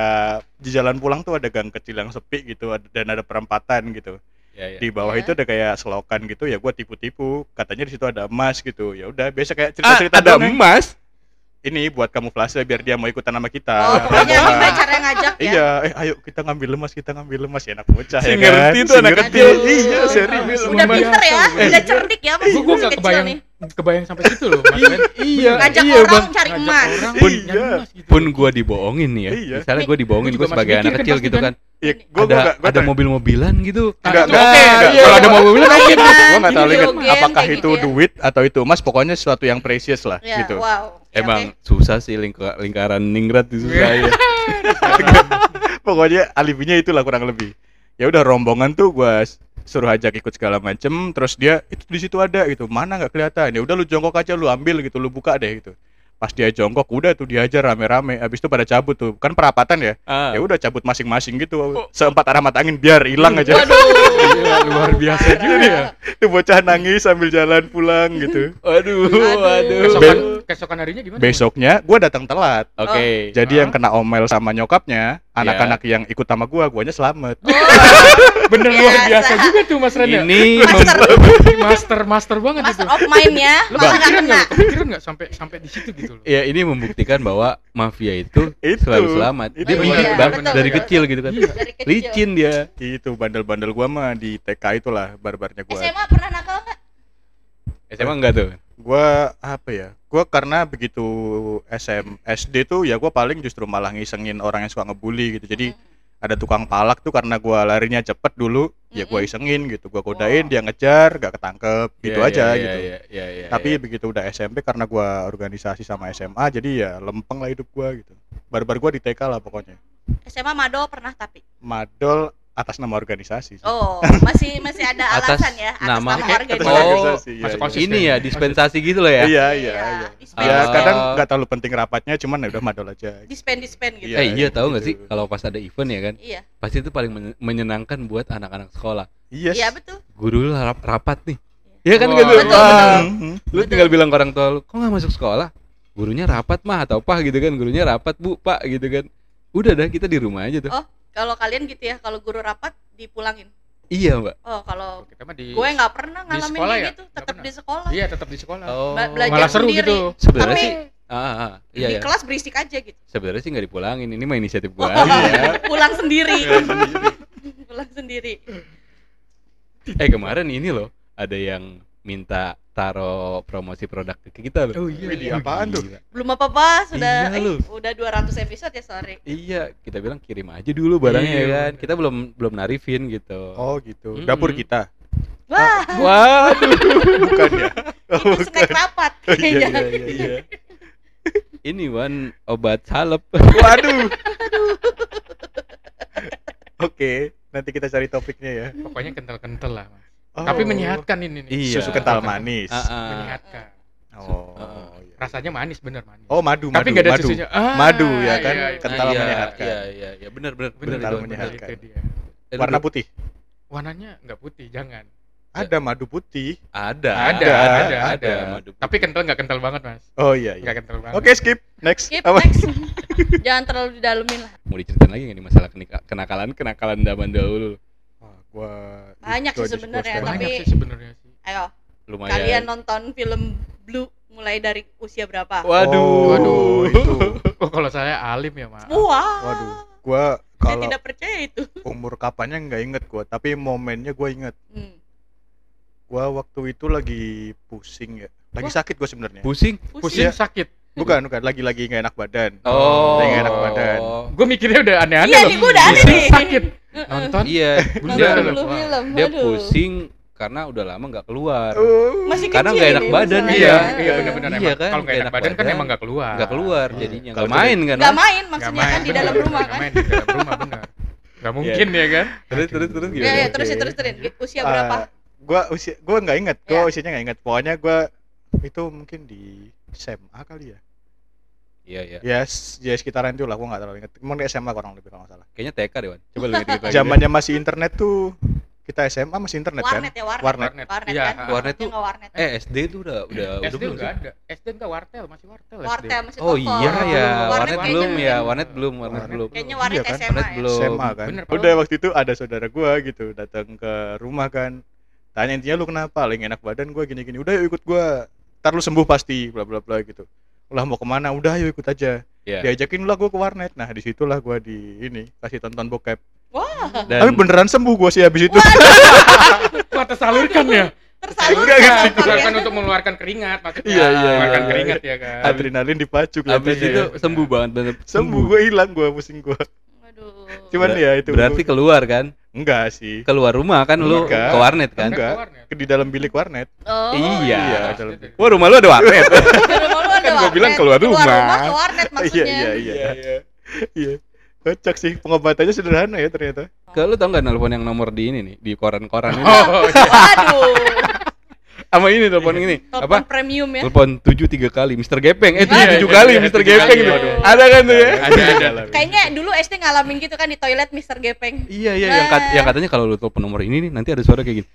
Speaker 4: di jalan pulang tuh ada gang kecil yang sepi gitu ada- dan ada perempatan gitu.
Speaker 1: Iya iya.
Speaker 4: Di bawah
Speaker 2: Iya.
Speaker 4: itu ada kayak selokan gitu ya gua tipu-tipu katanya di situ ada emas gitu. Ya udah biasa kayak
Speaker 1: Ah,
Speaker 4: cerita-cerita
Speaker 1: ada
Speaker 4: dongeng.
Speaker 1: emas.
Speaker 4: Ini buat kamuflase biar dia mau ikutan sama kita.
Speaker 2: Oh, pokoknya
Speaker 4: Rombongan.
Speaker 2: gimana cara ngajak ya?
Speaker 4: Iya, eh ayo kita ngambil emas, kita ngambil emas ya anak bocah
Speaker 1: Si
Speaker 4: ya kan.
Speaker 1: ngerti tuh
Speaker 4: Si
Speaker 1: anak
Speaker 4: ngerti.
Speaker 1: kecil.
Speaker 4: Iya,
Speaker 2: Aduh,
Speaker 4: serius.
Speaker 2: Udah
Speaker 3: lumayan.
Speaker 2: pinter ya,
Speaker 3: Eh.
Speaker 2: udah cerdik ya masih
Speaker 3: Gue gue
Speaker 2: masih
Speaker 3: nggak
Speaker 2: kecil
Speaker 3: kebayang Eh,
Speaker 2: nih.
Speaker 3: kebayang sampai situ loh. Mas Ben.
Speaker 1: Iya.
Speaker 2: Ngajak
Speaker 1: iya,
Speaker 2: orang
Speaker 1: Bang.
Speaker 2: cari
Speaker 3: Ngajak
Speaker 2: emas.
Speaker 3: orang
Speaker 4: Pun-
Speaker 3: nyari emas gitu.
Speaker 1: pun gua dibohongin nih ya
Speaker 4: Iya.
Speaker 1: misalnya gua dibohongin
Speaker 3: Gua
Speaker 1: gua
Speaker 3: juga
Speaker 1: sebagai
Speaker 3: masih
Speaker 1: anak
Speaker 3: mikir
Speaker 1: kecil
Speaker 3: pasti
Speaker 1: gitu
Speaker 3: kan.
Speaker 1: kan
Speaker 4: Iya, gua
Speaker 1: ada
Speaker 4: gua nggak- gua
Speaker 1: ada
Speaker 4: nggak-
Speaker 1: mobil-mobilan gitu
Speaker 3: Nah,
Speaker 4: Enggak,
Speaker 3: itu
Speaker 4: enggak,
Speaker 3: oke,
Speaker 4: enggak.
Speaker 3: iya,
Speaker 4: Kalau
Speaker 3: iya.
Speaker 4: ada mobil
Speaker 2: Iya, kan?
Speaker 4: oke. Gua enggak tahu
Speaker 2: Video
Speaker 4: ingat
Speaker 2: game,
Speaker 4: apakah
Speaker 2: kayak
Speaker 4: itu
Speaker 2: gitu ya.
Speaker 4: duit atau itu emas, pokoknya sesuatu yang precious lah
Speaker 2: Ya,
Speaker 4: gitu.
Speaker 2: wow. Ya,
Speaker 1: emang
Speaker 2: oke.
Speaker 1: susah sih lingka- lingkaran ningrat itu susah ya
Speaker 4: Pokoknya alibinya itulah kurang lebih. Ya udah rombongan tuh gua s- suruh ajak ikut segala macem terus dia itu di situ ada gitu mana nggak kelihatan ya udah lu jongkok aja lu ambil gitu lu buka deh gitu pas dia jongkok udah tuh dia aja rame-rame abis itu pada cabut tuh kan perapatan ya
Speaker 1: Ah.
Speaker 4: ya udah cabut masing-masing gitu seempat arah mata angin biar hilang aja
Speaker 2: Waduh.
Speaker 3: Gila, Iya, luar biasa
Speaker 1: Iya.
Speaker 2: Parah.
Speaker 4: Gitu dia. Tuh bocah nangis sambil jalan pulang gitu.
Speaker 1: Aduh,
Speaker 2: Aduh.
Speaker 1: aduh.
Speaker 3: Kesokan, kesokan harinya gimana?
Speaker 4: Besoknya gua datang telat.
Speaker 1: Oke.
Speaker 4: Jadi yang kena omel sama nyokapnya, anak-anak yang ikut sama gua, guanya selamat.
Speaker 3: bener luar biasa
Speaker 2: Biasa.
Speaker 3: juga tuh Mas Ren ya.
Speaker 1: Ini
Speaker 2: Master,
Speaker 3: Master master banget itu.
Speaker 2: master of mind ya. Masa
Speaker 3: Lu
Speaker 2: nggak
Speaker 3: kepikiran
Speaker 2: kena?
Speaker 3: nggak? Kepikiran nggak sampai sampai di situ gitu loh.
Speaker 1: ya ini membuktikan bahwa mafia itu,
Speaker 4: Itu.
Speaker 1: selalu selamat. Dia
Speaker 4: Itu.
Speaker 1: begitu
Speaker 4: Iya,
Speaker 1: Bang,
Speaker 2: betul,
Speaker 1: dari
Speaker 2: betul.
Speaker 1: kecil gitu kan.
Speaker 3: Iya.
Speaker 2: Dari kecil.
Speaker 1: Licin dia.
Speaker 4: Itu Gitu, bandel-bandel gua mah di TK itulah barbarnya gua.
Speaker 2: SMA pernah nakal nggak?
Speaker 1: SMA enggak tuh?
Speaker 4: Gua apa ya? Gua karena begitu SM SD tuh ya gua paling justru malah ngisengin orang yang suka ngebully gitu. Jadi
Speaker 2: Hmm.
Speaker 4: ada tukang palak tuh karena gua larinya cepet dulu, ya gua
Speaker 2: Mm-mm.
Speaker 4: isengin gitu. Gua godain,
Speaker 2: Wah.
Speaker 4: dia ngejar, gak ketangkep gitu
Speaker 1: Iya,
Speaker 4: aja
Speaker 1: iya,
Speaker 4: gitu.
Speaker 1: Iya, iya, iya,
Speaker 4: tapi
Speaker 1: iya.
Speaker 4: begitu udah SMP karena gua organisasi sama SMA jadi ya lempeng lah hidup gua gitu barbar gua di TK lah pokoknya
Speaker 2: SMA Mado pernah tapi.
Speaker 4: madol atas nama organisasi sih.
Speaker 2: Oh, masih masih ada
Speaker 1: Atas
Speaker 2: alasan ya atas
Speaker 1: nama-
Speaker 2: nama,
Speaker 3: Oke, atas
Speaker 2: organisasi.
Speaker 4: nama
Speaker 1: Oh,
Speaker 4: organisasi, iya,
Speaker 3: masuk
Speaker 4: iya.
Speaker 3: konsis.
Speaker 1: ini ya dispensasi gitu loh ya.
Speaker 4: Iya, iya, iya.
Speaker 2: Dispen,
Speaker 4: Ya
Speaker 1: Ah.
Speaker 4: kadang nggak terlalu penting rapatnya, cuman ya udah madol aja.
Speaker 2: dispen, dispen gitu.
Speaker 4: Iya,
Speaker 1: eh iya
Speaker 4: iya,
Speaker 1: tahu nggak
Speaker 4: gitu.
Speaker 1: sih kalau pas ada event ya kan
Speaker 2: Iya.
Speaker 1: pasti itu paling men- menyenangkan buat anak-anak sekolah.
Speaker 4: Yes.
Speaker 2: Iya, betul.
Speaker 1: Guru lu rap- rapat nih. Iya kan
Speaker 3: Wah.
Speaker 1: gitu.
Speaker 2: Betul,
Speaker 1: Wah,
Speaker 4: Hmm.
Speaker 1: Lu tinggal bilang ke orang tua lu, "Kok nggak masuk sekolah?" Gurunya rapat mah atau apa gitu kan. Gurunya rapat, "Bu, Pak" gitu kan. Udah dah kita di rumah aja tuh.
Speaker 2: Oh. Kalau kalian gitu ya, kalau guru rapat dipulangin.
Speaker 1: Iya, Mbak.
Speaker 2: Oh, kalau
Speaker 3: kita mah di
Speaker 2: gue nggak pernah ngalamin
Speaker 3: sekolah
Speaker 2: kayak
Speaker 3: ya?
Speaker 2: gitu,
Speaker 3: Nggak
Speaker 2: tetap
Speaker 3: pernah.
Speaker 2: di sekolah.
Speaker 3: iya tetap di sekolah
Speaker 1: Oh.
Speaker 2: Ba- belajar
Speaker 3: malah seru
Speaker 2: sendiri.
Speaker 3: gitu
Speaker 1: Sebenarnya
Speaker 2: Tapi
Speaker 1: sih ah, ah, iya
Speaker 2: di
Speaker 1: ya.
Speaker 2: kelas berisik aja gitu.
Speaker 1: Sebenarnya sih nggak dipulangin. Ini mah inisiatif gua.
Speaker 2: Wah, [LAUGHS]
Speaker 1: aja. ya.
Speaker 2: pulang sendiri.
Speaker 4: Iya, sendiri.
Speaker 2: [LAUGHS] pulang sendiri.
Speaker 1: eh kemarin ini loh ada yang minta taro promosi produk ke kita loh.
Speaker 3: oh iya
Speaker 4: Wih, di
Speaker 3: iya.
Speaker 4: apaan tuh?
Speaker 1: Gila.
Speaker 2: Belum apa-apa, sudah
Speaker 1: Iya,
Speaker 2: eh,
Speaker 1: lu.
Speaker 2: udah 200 episode ya, sorry.
Speaker 1: Iya, kita bilang kirim aja dulu barangnya
Speaker 3: Iya,
Speaker 1: ya kan.
Speaker 3: bener.
Speaker 1: Kita belum belum narifin gitu.
Speaker 4: Oh gitu.
Speaker 1: Mm-mm.
Speaker 4: Dapur kita.
Speaker 2: Wah,
Speaker 1: Waduh.
Speaker 4: [LAUGHS] Bukan [LAUGHS] ya.
Speaker 2: [LAUGHS] itu snack rapat
Speaker 4: Iya,
Speaker 2: kayaknya.
Speaker 4: iya, iya, iya.
Speaker 1: [LAUGHS] Ini Wan obat salep.
Speaker 4: Waduh. [LAUGHS] Oke, nanti kita cari topiknya ya.
Speaker 3: pokoknya kental-kental lah Mas.
Speaker 4: Oh.
Speaker 3: tapi menyehatkan ini nih
Speaker 1: Iya.
Speaker 4: Susu kental manis.
Speaker 1: Ah, ah.
Speaker 3: menyehatkan
Speaker 4: Oh.
Speaker 1: Ah.
Speaker 4: iya.
Speaker 3: rasanya manis bener manis
Speaker 4: Oh, madu,
Speaker 3: tapi
Speaker 4: madu,
Speaker 3: nggak ada
Speaker 4: madu.
Speaker 3: susunya Ah,
Speaker 4: Madu, ya kan?
Speaker 3: iya, iya.
Speaker 4: Kental
Speaker 1: Nah, iya,
Speaker 4: menyehatkan.
Speaker 1: Iya, iya, iya, benar benar
Speaker 3: bener,
Speaker 4: Kental
Speaker 3: bener,
Speaker 1: itu.
Speaker 3: bener,
Speaker 4: menyehatkan.
Speaker 3: itu dia.
Speaker 1: Eh,
Speaker 4: Warna
Speaker 1: duduk.
Speaker 4: putih.
Speaker 3: warnanya nggak putih jangan
Speaker 4: Ada madu putih.
Speaker 1: ada.
Speaker 3: ada
Speaker 4: ada,
Speaker 3: ada
Speaker 4: ada.
Speaker 3: ada,
Speaker 1: Madu putih.
Speaker 3: tapi kental nggak kental banget mas
Speaker 4: Oh iya
Speaker 3: nggak
Speaker 4: iya.
Speaker 3: kental banget
Speaker 4: Oke, skip. Next.
Speaker 2: Skip
Speaker 4: Apa?
Speaker 2: next. Jangan terlalu didalemin lah.
Speaker 1: Mau diceritain lagi nggak nih masalah kenika- kenakalan kenakalan zaman dahulu?
Speaker 4: Wah, gua
Speaker 2: Banyak
Speaker 4: gua
Speaker 2: sih sebenarnya,
Speaker 4: disposkan.
Speaker 3: banyak
Speaker 2: tapi-
Speaker 3: sih sebenarnya sih
Speaker 2: Ayo,
Speaker 1: Lumayan.
Speaker 2: kalian nonton film Blue mulai dari usia berapa?
Speaker 1: Waduh.
Speaker 4: Oh,
Speaker 3: Waduh.
Speaker 4: itu.
Speaker 3: oh kalau saya alim ya mas
Speaker 2: Wah.
Speaker 4: Waduh. Gua
Speaker 2: Saya
Speaker 4: kalau
Speaker 2: tidak percaya itu.
Speaker 4: umur kapannya nggak inget gua, tapi momennya gua inget.
Speaker 2: Hmm.
Speaker 4: Gua waktu itu lagi pusing ya. Lagi
Speaker 2: Wah.
Speaker 4: sakit gua sebenarnya.
Speaker 1: Pusing.
Speaker 2: Pusing.
Speaker 3: pusing
Speaker 4: Iya.
Speaker 3: sakit
Speaker 4: Bukan, bukan. Lagi lagi nggak enak badan.
Speaker 1: Oh.
Speaker 4: Lagi enak badan.
Speaker 3: gue mikirnya udah aneh-aneh
Speaker 2: Iya
Speaker 3: loh
Speaker 2: nih, gue udah ada
Speaker 3: Pusing
Speaker 2: nih.
Speaker 3: sakit nonton
Speaker 1: Iya, dia,
Speaker 2: Nonton
Speaker 3: Iya,
Speaker 2: dulu
Speaker 3: wah.
Speaker 2: film.
Speaker 1: dia
Speaker 2: aduh.
Speaker 1: pusing karena udah lama nggak keluar.
Speaker 4: Oh.
Speaker 2: Masih
Speaker 1: Karena
Speaker 2: kecil
Speaker 1: nggak enak
Speaker 2: ini Eh,
Speaker 1: badan
Speaker 2: masalahnya.
Speaker 3: iya
Speaker 1: Iya.
Speaker 3: iya benar-benar
Speaker 1: Iya
Speaker 3: emang.
Speaker 1: kan,
Speaker 3: kalau nggak enak badan kan emang nggak keluar
Speaker 1: Nggak keluar
Speaker 4: Iya.
Speaker 1: jadinya
Speaker 4: Kalau
Speaker 1: nggak main kan.
Speaker 2: Nggak
Speaker 1: Wan?
Speaker 2: main
Speaker 3: Nggak
Speaker 2: maksudnya kan
Speaker 3: main,
Speaker 2: di dalam
Speaker 3: bener,
Speaker 2: rumah
Speaker 3: nggak
Speaker 2: kan.
Speaker 3: main di dalam rumah benar nggak mungkin ya kan
Speaker 1: Terus terus terus
Speaker 4: Iya,
Speaker 1: gitu.
Speaker 2: Iya, iya,
Speaker 4: oke.
Speaker 2: terus ya, terus terusin. Usia
Speaker 4: Ah,
Speaker 2: berapa?
Speaker 4: gua usia gua nggak inget. Gua
Speaker 2: Ya.
Speaker 4: usianya nggak inget. Pokoknya gua itu mungkin di SMA kali ya.
Speaker 1: Iya, iya.
Speaker 4: Ya, yes, ya sekitaran itu lah, gua nggak terlalu inget. Cuman di SMA kurang lebih kalau nggak salah.
Speaker 1: Kayaknya TK deh, Wan. Coba lu ingat lagi.
Speaker 4: Zamannya masih internet tuh. Kita SMA masih internet kan?
Speaker 2: Warnet ya, warnet.
Speaker 4: Warnet.
Speaker 3: warnet
Speaker 2: Warnet
Speaker 3: iya
Speaker 2: kan?
Speaker 1: Warnet
Speaker 2: Dia
Speaker 1: tuh
Speaker 2: nggak warnet.
Speaker 1: eh SD tuh udah udah Eh, udah
Speaker 3: SD
Speaker 1: belum
Speaker 3: Eh, nggak
Speaker 1: sih?
Speaker 3: ada SD nggak wartel masih wartel SD.
Speaker 2: Wartel
Speaker 3: [LAUGHS]
Speaker 2: masih
Speaker 1: Oh
Speaker 2: toko.
Speaker 1: iya ya, warnet
Speaker 2: kayaknya
Speaker 1: belum ya,
Speaker 2: mungkin-
Speaker 1: warnet belum, warnet
Speaker 4: Warnet
Speaker 1: belum.
Speaker 2: Kayaknya warnet
Speaker 4: Iya kan,
Speaker 2: SMA
Speaker 1: warnet
Speaker 2: ya.
Speaker 1: belum.
Speaker 4: SMA kan.
Speaker 3: Bener,
Speaker 4: Udah
Speaker 3: belum.
Speaker 4: waktu itu ada saudara gua gitu datang ke rumah kan. Tanya intinya lu kenapa? Lagi enak badan gua gini-gini. Udah yuk ikut gua. Ntar lu sembuh pasti bla bla bla gitu. Lah mau kemana? Udah yuk ikut aja.
Speaker 1: Iya.
Speaker 4: Diajakin lah gua ke warnet. Nah, disitulah gua di ini kasih tonton bokep.
Speaker 2: Wah,
Speaker 1: Dan
Speaker 4: Tapi beneran sembuh gua sih habis itu.
Speaker 3: Wah, tersalurkan ya
Speaker 2: tersalurkan
Speaker 4: Enggak, enggak,
Speaker 2: nampaknya.
Speaker 3: tersalurkan untuk mengeluarkan keringat maksudnya
Speaker 4: Iya, iya,
Speaker 3: mengeluarkan
Speaker 4: iya.
Speaker 3: keringat ya kan
Speaker 4: Adrenalin dipacu
Speaker 1: abis
Speaker 4: kelihatannya
Speaker 1: itu
Speaker 4: ya.
Speaker 1: sembuh banget bener.
Speaker 4: sembuh gua hilang gua pusing gua.
Speaker 2: Waduh.
Speaker 4: Cuman
Speaker 1: Ber-
Speaker 4: ya itu.
Speaker 1: Berarti keluar kan?
Speaker 4: enggak sih.
Speaker 1: Keluar rumah kan lu
Speaker 4: Enggak.
Speaker 1: ke warnet kan?
Speaker 4: Enggak.
Speaker 3: Ke warnet.
Speaker 4: Di dalam bilik warnet. [LAUGHS]
Speaker 2: Oh,
Speaker 1: Iya.
Speaker 4: Iya,
Speaker 3: Nah,
Speaker 4: dalam
Speaker 3: itu.
Speaker 1: Wah, rumah lu ada warnet. [LAUGHS]
Speaker 2: Keluar rumah ada
Speaker 4: Kan gua
Speaker 2: warnet.
Speaker 4: bilang keluar rumah.
Speaker 2: rumah ke warnet maksudnya.
Speaker 4: Iya, iya, iya. Iya. Kocak sih pengobatannya sederhana ya ternyata.
Speaker 1: Kalau lu tau nggak nelpon yang nomor di ini nih, di koran-koran ini.
Speaker 3: Oh, iya.
Speaker 2: Waduh.
Speaker 1: Sama ini telepon ini.
Speaker 2: Telepon
Speaker 1: Apa?
Speaker 2: premium ya.
Speaker 1: Telepon 7 3 kali Mr. Gepeng. Eh,
Speaker 3: Iya,
Speaker 1: 7
Speaker 3: iya,
Speaker 1: kali
Speaker 3: iya,
Speaker 1: Mr.
Speaker 3: tujuh
Speaker 1: Gepeng
Speaker 3: kali,
Speaker 1: gitu.
Speaker 3: waduh. Iya,
Speaker 1: Ada kan tuh ya?
Speaker 3: Ada, ada.
Speaker 2: Kayaknya dulu SD ngalamin gitu kan di toilet Mr. Gepeng.
Speaker 1: Iya, iya, yang, kat-
Speaker 2: Nah.
Speaker 1: yang katanya kalau lu telepon nomor ini nih nanti ada suara kayak gini.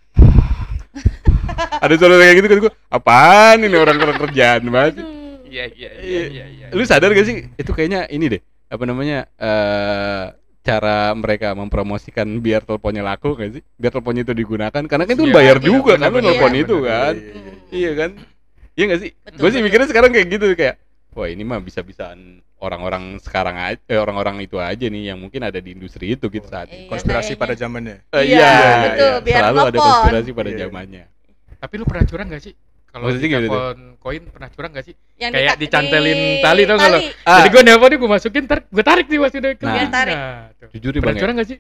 Speaker 1: ada suara kayak gitu kan gua, apaan ini orang orang kerjaan banget. sih?"
Speaker 2: Aduh.
Speaker 3: iya iya
Speaker 1: Iya.
Speaker 3: iya iya
Speaker 1: Lu sadar gak sih itu kayaknya ini deh, apa namanya? eh cara mereka mempromosikan biar teleponnya laku gak sih? Biar teleponnya itu digunakan karena kan itu
Speaker 3: Iya,
Speaker 1: bayar
Speaker 2: iya,
Speaker 1: juga kan lu
Speaker 2: bener-bener,
Speaker 1: nelpon
Speaker 3: iya,
Speaker 1: itu
Speaker 3: bener-bener,
Speaker 1: kan. Iya kan? Iya gak sih?
Speaker 2: Betul,
Speaker 1: Gue sih
Speaker 2: betul.
Speaker 1: mikirnya sekarang kayak gitu kayak wah ini mah bisa-bisaan orang-orang sekarang aja eh, orang-orang itu aja nih yang mungkin ada di industri itu gitu saat ini.
Speaker 2: Iya,
Speaker 4: Konspirasi
Speaker 2: kayaknya.
Speaker 4: pada zamannya.
Speaker 1: Eh,
Speaker 2: Iya,
Speaker 4: betul,
Speaker 2: biar
Speaker 1: Selalu ada
Speaker 2: nelpon.
Speaker 1: konspirasi pada
Speaker 4: Iya.
Speaker 1: zamannya.
Speaker 3: tapi lu pernah curang gak sih kalau
Speaker 1: Maksudnya gimana tuh?
Speaker 3: telepon koin pernah curang gak sih
Speaker 2: Yang
Speaker 3: Kayak
Speaker 2: dita-
Speaker 3: dicantelin
Speaker 2: di-
Speaker 3: tali tau nggak lo?
Speaker 1: Ah,
Speaker 3: Jadi gue nelpon nih gue masukin, ntar gue tarik nih pas udah ke
Speaker 1: Nah.
Speaker 3: nah,
Speaker 2: Tarik.
Speaker 3: tuh.
Speaker 1: jujur nih
Speaker 3: Pernah
Speaker 1: Bang ya,
Speaker 3: curang gak sih?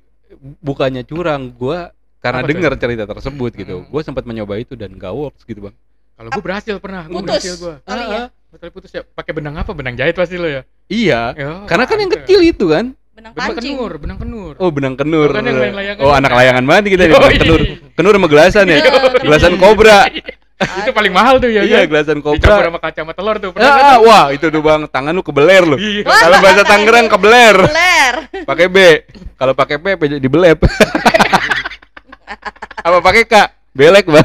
Speaker 1: bukannya curang gua karena
Speaker 3: Apa tuh?
Speaker 1: dengar cerita tersebut gitu.
Speaker 3: Hmm.
Speaker 1: Gue sempat mencoba itu dan gak works gitu, Bang. Ah,
Speaker 3: Kalau gue berhasil pernah, gue
Speaker 2: Putus.
Speaker 3: berhasil gue.
Speaker 2: Tali ya?
Speaker 3: Tali putus ya, pakai benang apa? Benang jahit pasti lo ya?
Speaker 1: Iya.
Speaker 3: Ya,
Speaker 1: Karena kan yang
Speaker 3: mantep.
Speaker 1: kecil itu kan.
Speaker 2: benang
Speaker 3: benang
Speaker 2: pancing
Speaker 3: kenur benang kenur
Speaker 1: Oh benang kenur.
Speaker 3: Bukan kan yang main layangan. iya,
Speaker 1: Oh anak layangan banget nih kita nih benang
Speaker 3: Yoi.
Speaker 1: kenur. Kenur sama
Speaker 3: [LAUGHS]
Speaker 1: gelasan ya.
Speaker 2: Iya, betul.
Speaker 1: Gelasan kobra.
Speaker 3: itu paling mahal tuh ya
Speaker 1: Iya
Speaker 3: kan?
Speaker 1: gelasan
Speaker 3: Iya, dicampur
Speaker 1: kobra.
Speaker 3: sama kacama telur tuh pernah
Speaker 1: Ah, ah, wah itu tuh bang tangan lu kebeler lu.
Speaker 3: Iya.
Speaker 2: Wah,
Speaker 1: Kalau bahasa
Speaker 2: tangan
Speaker 1: Tangerang
Speaker 2: lu
Speaker 1: kebeler.
Speaker 2: Beler.
Speaker 1: Pakai B. Kalau pakai P, P jadi
Speaker 2: [LAUGHS]
Speaker 1: dibelep. Apa pakai K? Belek bang. ah.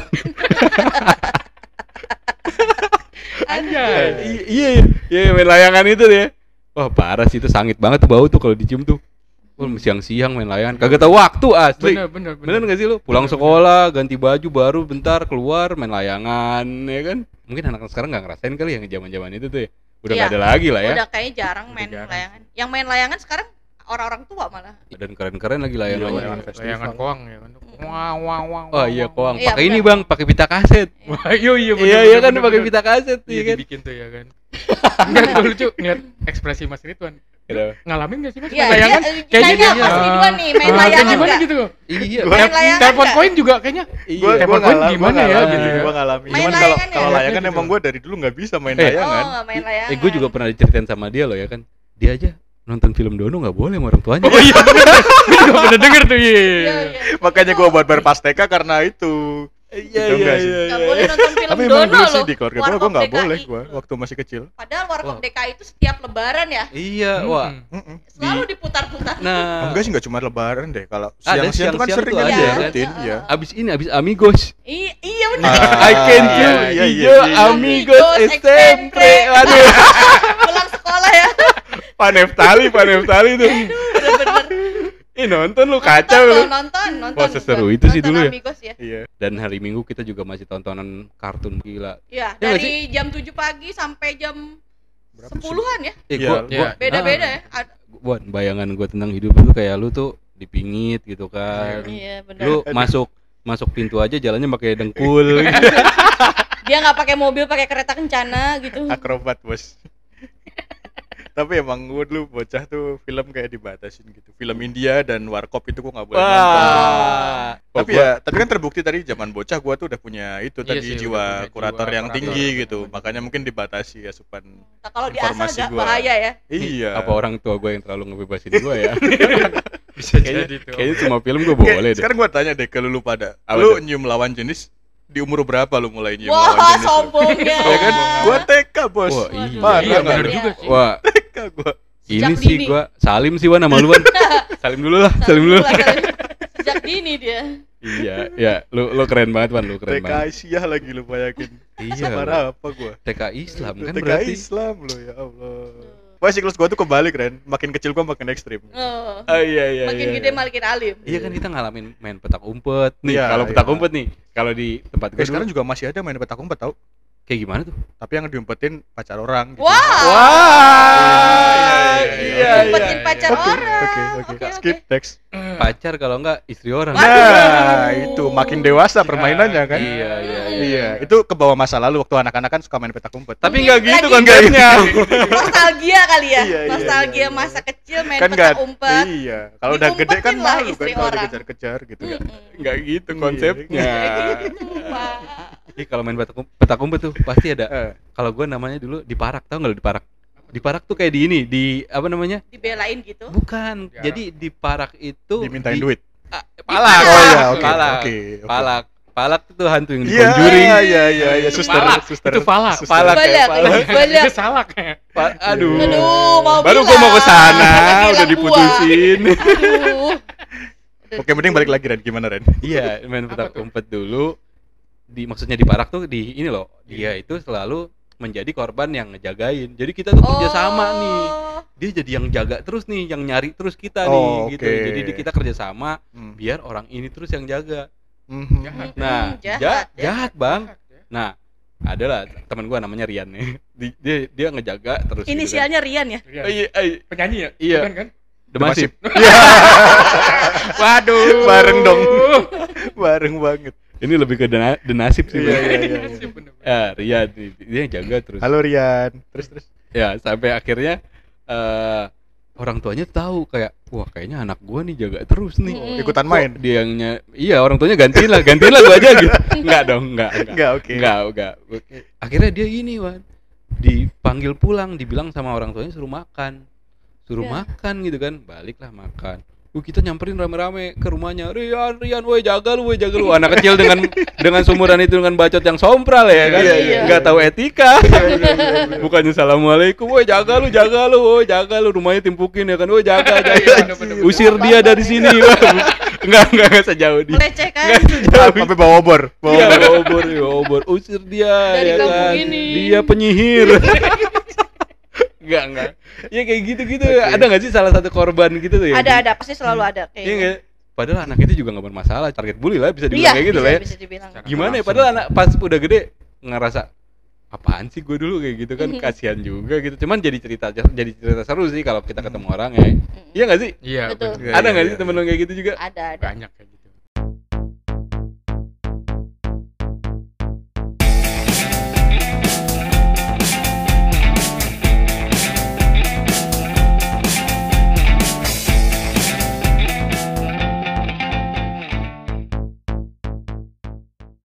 Speaker 3: Anjay.
Speaker 1: I- Iya iya iya, main layangan itu deh. Wah parah sih itu sangit banget tuh bau tuh kalau dicium tuh. Wah siang-siang main layangan. Kagak tahu waktu asli.
Speaker 3: bener
Speaker 1: Bener
Speaker 3: bener
Speaker 1: gak sih lu? Pulang
Speaker 3: Bener,
Speaker 1: sekolah, ganti baju baru bentar keluar main layangan ya kan? Mungkin anak-anak sekarang nggak ngerasain kali yang zaman-zaman itu tuh ya. Udah nggak
Speaker 2: Iya.
Speaker 1: ada lagi lah ya.
Speaker 2: Udah kayaknya jarang
Speaker 3: Udah
Speaker 2: main
Speaker 3: jarang.
Speaker 2: layangan. Yang main layangan sekarang orang-orang tua malah.
Speaker 1: Dan keren-keren lagi layangannya.
Speaker 4: Layangan festival.
Speaker 3: Iya, layangan koang ya kan wah wah wah
Speaker 1: Oh iya koang.
Speaker 2: Iya,
Speaker 1: Pakai ini bang,
Speaker 2: bener.
Speaker 1: pakai pita kaset.
Speaker 3: wah [LAUGHS] iya iya bener,
Speaker 1: Iya
Speaker 3: bener,
Speaker 1: iya kan
Speaker 3: bener,
Speaker 1: pakai
Speaker 3: bener.
Speaker 1: pita kaset
Speaker 3: iya
Speaker 1: iya kan.
Speaker 3: dibikin tuh ya kan [LAUGHS] enggak tuh lucu ngeliat ekspresi mas Ridwan
Speaker 1: Kenapa?
Speaker 3: ngalamin gak sih mas
Speaker 2: Iya,
Speaker 3: main layangan
Speaker 2: iya,
Speaker 3: kayaknya
Speaker 2: tanya
Speaker 3: dia-
Speaker 2: Mas Ridwan nih, main
Speaker 3: Ah, kayak
Speaker 2: layangan
Speaker 3: gimana
Speaker 2: nggak?
Speaker 3: gitu
Speaker 1: Iya.
Speaker 4: Gua-
Speaker 2: Main layangan
Speaker 3: telepon
Speaker 2: nggak?
Speaker 3: koin juga kayaknya [LAUGHS]
Speaker 4: Gua,
Speaker 3: Telepon
Speaker 4: Iya, gua
Speaker 3: koin
Speaker 4: ngalam-
Speaker 3: gimana
Speaker 4: gua
Speaker 3: ya,
Speaker 4: ngalamin,
Speaker 3: gitu
Speaker 1: Iya.
Speaker 3: ya?
Speaker 4: Gua ngalamin.
Speaker 2: Main
Speaker 4: Cuman kalau
Speaker 2: layangan
Speaker 4: kalau
Speaker 2: ya?
Speaker 4: layangan
Speaker 3: Gitu.
Speaker 4: emang gua dari dulu nggak bisa main
Speaker 1: Eh.
Speaker 2: Oh,
Speaker 4: layangan.
Speaker 2: nggak main layangan.
Speaker 1: Eh gue juga pernah diceritain sama dia loh ya kan. Dia aja nonton film Dono nggak boleh sama orang tuanya.
Speaker 3: iya gue juga pernah denger tuh iya
Speaker 2: Iya, iya.
Speaker 4: Makanya gua buat berpasteka karena itu.
Speaker 1: [LAUGHS] Iya
Speaker 4: Gitu nggak sih?
Speaker 2: Nggak boleh nonton film
Speaker 4: Tapi
Speaker 2: Dono
Speaker 4: emang dulu sih
Speaker 2: loh.
Speaker 4: di keluarga gua gua
Speaker 2: Warkop
Speaker 4: nggak
Speaker 2: DKI.
Speaker 4: boleh gua waktu masih kecil.
Speaker 2: Padahal Warkop
Speaker 1: Wah.
Speaker 2: DKI itu setiap lebaran ya
Speaker 1: Iya, wah.
Speaker 3: Hmm.
Speaker 4: Mm-mm.
Speaker 2: selalu diputar-putar.
Speaker 1: Nah,
Speaker 4: Enggak sih nggak cuma lebaran deh kalau
Speaker 1: Ada
Speaker 4: siang-siang tuh kan
Speaker 1: siang-siang tuh
Speaker 4: sering aja
Speaker 1: ada,
Speaker 4: ya,
Speaker 1: kan?
Speaker 4: rutin
Speaker 2: Iya.
Speaker 4: ya.
Speaker 1: abis ini abis Amigos.
Speaker 2: I- iya benar.
Speaker 1: [LAUGHS]
Speaker 4: Ah,
Speaker 1: I can do
Speaker 4: iya, iya,
Speaker 1: you
Speaker 4: iya.
Speaker 1: Amigos
Speaker 2: Amigos
Speaker 1: sempre.
Speaker 2: sempre.
Speaker 1: Waduh, Ah.
Speaker 2: Pulang sekolah ya.
Speaker 1: paneftali, paneftali tuh. [LAUGHS]
Speaker 2: Bener-bener.
Speaker 1: Ih nonton lu
Speaker 2: Nonton,
Speaker 1: kacau lu.
Speaker 2: nonton, nonton.
Speaker 1: Wah, seseru itu sih
Speaker 2: Nonton
Speaker 1: dulu ya.
Speaker 2: Amigos ya.
Speaker 4: Iya.
Speaker 1: Dan hari Minggu kita juga masih tontonan kartun gila.
Speaker 2: Iya,
Speaker 1: Iya nggak
Speaker 2: dari jam 7 pagi sampai jam
Speaker 4: Berapa sih?
Speaker 2: sepuluhan ya.
Speaker 1: Eh,
Speaker 4: Iya,
Speaker 1: gua,
Speaker 3: iya.
Speaker 1: gua,
Speaker 2: Beda-beda ya. Ad-
Speaker 1: Buat bayangan gua tentang hidup itu kayak lu tuh dipingit gitu kan.
Speaker 2: Iya, benar.
Speaker 1: Lu masuk masuk pintu aja jalannya pakai
Speaker 4: [LAUGHS]
Speaker 1: dengkul.
Speaker 4: Iya.
Speaker 2: Dia nggak pakai mobil, pakai kereta kencana gitu.
Speaker 4: akrobat bos [LAUGHS] tapi emang gue dulu bocah tuh film kayak dibatasin gitu film India dan warkop itu gue nggak boleh nonton
Speaker 1: Wah.
Speaker 4: tapi ya tapi kan terbukti tadi zaman bocah gue tuh udah punya itu
Speaker 3: Iya
Speaker 4: tadi
Speaker 3: sih, udah
Speaker 4: jiwa
Speaker 3: punya jiwa
Speaker 4: kurator yang
Speaker 3: kurator.
Speaker 4: tinggi gitu makanya mungkin dibatasi asupan
Speaker 2: Nah, kalau di asal
Speaker 4: Informasi
Speaker 2: agak
Speaker 4: gua.
Speaker 2: bahaya ya.
Speaker 4: iya
Speaker 1: apa orang tua gue yang terlalu ngebebasin gue
Speaker 4: [LAUGHS]
Speaker 1: ya
Speaker 3: bisa
Speaker 1: Kayaknya-
Speaker 3: jadi tuh
Speaker 1: kayaknya semua film gue
Speaker 4: Oke,
Speaker 1: boleh deh
Speaker 4: sekarang gue tanya deh ke lu, lu pada
Speaker 1: Apa tuh?
Speaker 4: lu nyium lawan jenis di umur berapa lu mulai
Speaker 1: Iya,
Speaker 4: nyium lawan
Speaker 2: Wah,
Speaker 4: jenis
Speaker 1: [LAUGHS]
Speaker 4: lu?
Speaker 2: sombongnya.
Speaker 4: ya kan gue TK bos
Speaker 1: Wah,
Speaker 2: Waduh.
Speaker 1: Parah,
Speaker 3: iya
Speaker 4: nggak
Speaker 3: bener
Speaker 4: ada.
Speaker 3: juga sih
Speaker 1: wah
Speaker 4: TK gue
Speaker 2: Sejak
Speaker 1: ini sih
Speaker 2: dini.
Speaker 1: gue salim sih wan sama lu
Speaker 2: [LAUGHS]
Speaker 1: Wan. salim dulu lah salim dulu
Speaker 2: Sejak dulu, Sejak dini
Speaker 1: [LAUGHS]
Speaker 2: dia.
Speaker 1: iya ya lu lu keren banget wan lu keren
Speaker 4: TK
Speaker 1: banget
Speaker 4: Aisyah lagi lu bayangin
Speaker 1: iya
Speaker 4: parah apa gue
Speaker 1: TK Islam kan
Speaker 4: TKI
Speaker 1: berarti
Speaker 4: Islam lo ya Allah. Wah siklus gua tuh kembali keren. Makin kecil gua makin ekstrim.
Speaker 2: Oh.
Speaker 1: oh iya iya
Speaker 2: Makin
Speaker 1: iya.
Speaker 2: gede makin alim.
Speaker 1: iya kan kita ngalamin main petak umpet nih
Speaker 4: Iya,
Speaker 1: kalau petak
Speaker 4: iya.
Speaker 1: umpet nih kalau di tempat gue
Speaker 4: Eh, sekarang juga masih ada main petak umpet tau.
Speaker 1: kayak gimana tuh
Speaker 4: Tapi yang diumpetin pacar orang. Gitu.
Speaker 2: Wah.
Speaker 1: wah
Speaker 4: Iya, iya,
Speaker 1: iya iya
Speaker 4: iya.
Speaker 2: Umpetin pacar
Speaker 4: Oke
Speaker 2: orang.
Speaker 4: oke oke. Skip teks.
Speaker 1: pacar kalau enggak istri orang
Speaker 2: Waduh.
Speaker 4: Nah itu makin dewasa permainannya kan.
Speaker 1: iya iya iya
Speaker 4: Iya, itu ke bawah masa lalu waktu anak-anak kan suka main petak umpet.
Speaker 1: tapi
Speaker 2: Mungkin
Speaker 1: nggak gitu
Speaker 2: lagi-
Speaker 1: konsepnya
Speaker 2: Nostalgia kali ya.
Speaker 4: Iya, iya,
Speaker 2: Nostalgia
Speaker 4: iya, iya.
Speaker 2: masa kecil main
Speaker 4: kan
Speaker 2: petak
Speaker 4: nggak-
Speaker 2: umpet.
Speaker 4: Iya, kalau udah gede kan
Speaker 2: Diumpetin lah
Speaker 4: malu kan
Speaker 2: istri
Speaker 4: kalau
Speaker 2: orang. Hmm.
Speaker 4: dikejar-kejar gitu kan.
Speaker 2: Mm-mm.
Speaker 1: nggak gitu
Speaker 4: Iya.
Speaker 3: [LAUGHS]
Speaker 1: konsepnya
Speaker 2: Wah.
Speaker 1: Jadi kalau main petak, um- petak umpet tuh pasti ada
Speaker 4: Eh,
Speaker 1: kalau gue namanya dulu di parak tau nggak lu di parak di parak tuh kayak di ini di apa namanya
Speaker 2: Dibelain gitu.
Speaker 1: bukan
Speaker 3: Di
Speaker 1: jadi di parak itu
Speaker 4: Ya. dimintain
Speaker 1: di-
Speaker 4: duit.
Speaker 1: Ah, palak
Speaker 4: Oh iya, oke.
Speaker 1: palak
Speaker 4: Oke. oke.
Speaker 1: palak palak tuh hantu yang di
Speaker 4: Iya,
Speaker 1: conjuring
Speaker 4: iya, iya, iya, suster,
Speaker 3: Palak,
Speaker 4: suster.
Speaker 3: itu palak.
Speaker 4: suster. ya.
Speaker 1: Palak.
Speaker 2: Banyak,
Speaker 1: Palak.
Speaker 2: banyak.
Speaker 3: itu
Speaker 1: Iya,
Speaker 3: salah kayak
Speaker 1: Pa- aduh
Speaker 4: Iya,
Speaker 2: Aduh, mau
Speaker 1: baru gue
Speaker 2: bilang.
Speaker 1: mau ke sana
Speaker 2: Karena
Speaker 1: udah
Speaker 2: bilang gua.
Speaker 1: diputusin
Speaker 2: Aduh.
Speaker 4: Oke, mending balik lagi Ren, gimana Ren?
Speaker 1: iya main
Speaker 3: Apa
Speaker 1: petak
Speaker 3: tuh?
Speaker 1: umpet dulu di maksudnya di parak tuh di ini loh dia
Speaker 4: Iya.
Speaker 1: itu selalu menjadi korban yang ngejagain jadi kita tuh kerja sama
Speaker 4: Oh.
Speaker 1: nih
Speaker 2: Oh.
Speaker 1: dia jadi yang jaga terus nih, yang nyari terus kita nih
Speaker 4: Oh,
Speaker 1: gitu.
Speaker 4: oke.
Speaker 1: Jadi di- kita kerjasama
Speaker 4: Hmm.
Speaker 1: biar orang ini terus yang jaga.
Speaker 4: Mhm.
Speaker 3: Jahat.
Speaker 2: Mm-mm,
Speaker 1: Nah, ja-
Speaker 2: Hmm, jahat,
Speaker 1: jahat,
Speaker 2: ya.
Speaker 1: bang. Nah, adalah teman gua namanya Rian nih. Di- Dia dia ngejaga terus. gitu kan.
Speaker 2: Inisialnya Rian ya.
Speaker 3: Rian.
Speaker 1: Oh, Iya, iya.
Speaker 3: penyanyi ya
Speaker 1: Iya.
Speaker 3: Bukan kan
Speaker 1: The Masif. [LAUGHS]
Speaker 3: waduh
Speaker 4: Bareng dong.
Speaker 3: Oh.
Speaker 4: Bareng banget.
Speaker 1: Ini lebih ke dena- The Nasib sih.
Speaker 4: Iya,
Speaker 1: Bang.
Speaker 4: iya, iya.
Speaker 3: Sip, bener-bener.
Speaker 1: Ya, Rian nih, dia yang jaga terus.
Speaker 4: Halo Rian. Terus terus.
Speaker 1: Ya, sampai akhirnya eh orang tuanya tahu kayak wah kayaknya anak gua nih jaga terus nih.
Speaker 2: Mm-mm.
Speaker 4: Ikutan
Speaker 1: Kok
Speaker 4: main.
Speaker 1: Dia yang nya- iya orang tuanya gantiin lah, gantiin lah gua aja gitu. Enggak dong, enggak, enggak.
Speaker 4: Enggak, oke.
Speaker 1: Enggak, enggak. Akhirnya dia ini, Wan. Dipanggil pulang, dibilang sama orang tuanya suruh makan. suruh
Speaker 2: Ya.
Speaker 1: makan gitu kan baliklah makan Uh, kita nyamperin rame-rame ke rumahnya Rian Rian woi jaga lu woi jaga lu anak kecil dengan dengan sumuran itu dengan bacot yang sompral ya kan
Speaker 4: Iya,
Speaker 2: iya.
Speaker 1: nggak tahu etika bukannya assalamualaikum woi jaga lu jaga lu woi jaga lu rumahnya timpukin ya kan woi jaga jaga
Speaker 4: Iya,
Speaker 1: usir dia dari sini
Speaker 4: [LAUGHS]
Speaker 1: nggak nggak nggak sejauh dia
Speaker 2: melecehkan
Speaker 4: Sampai bawa obor. Bawa
Speaker 1: Iya,
Speaker 4: obor.
Speaker 1: bawa obor, bawa obor. Usir dia
Speaker 2: Dari
Speaker 1: ya
Speaker 2: kampung
Speaker 1: kan.
Speaker 2: ini.
Speaker 1: Dia penyihir. Enggak, enggak. Ya kayak gitu-gitu. Ada nggak sih salah satu korban gitu tuh ya?
Speaker 2: ada ada pasti selalu ada kayak gitu.
Speaker 1: Iya nggak? Padahal anak itu juga nggak bermasalah, target bully lah bisa
Speaker 2: iya
Speaker 1: dibilang kayak gitu
Speaker 2: bisa,
Speaker 1: lah ya.
Speaker 2: bisa dibilang
Speaker 3: Secara-
Speaker 1: Gimana ya
Speaker 3: Langsung.
Speaker 1: padahal anak pas udah gede ngerasa apaan sih gue dulu kayak gitu kan
Speaker 2: Mhm.
Speaker 1: kasihan juga gitu. Cuman jadi cerita jadi cerita
Speaker 2: Mm.
Speaker 1: seru sih kalau kita ketemu orang ya. Iya nggak sih?
Speaker 3: [LAUGHS] Iya,
Speaker 2: Betul.
Speaker 3: betul.
Speaker 4: Iya,
Speaker 1: ada
Speaker 4: iya,
Speaker 1: nggak
Speaker 4: iya.
Speaker 1: sih temen lo kayak gitu juga?
Speaker 2: ada ada
Speaker 3: Banyak kayak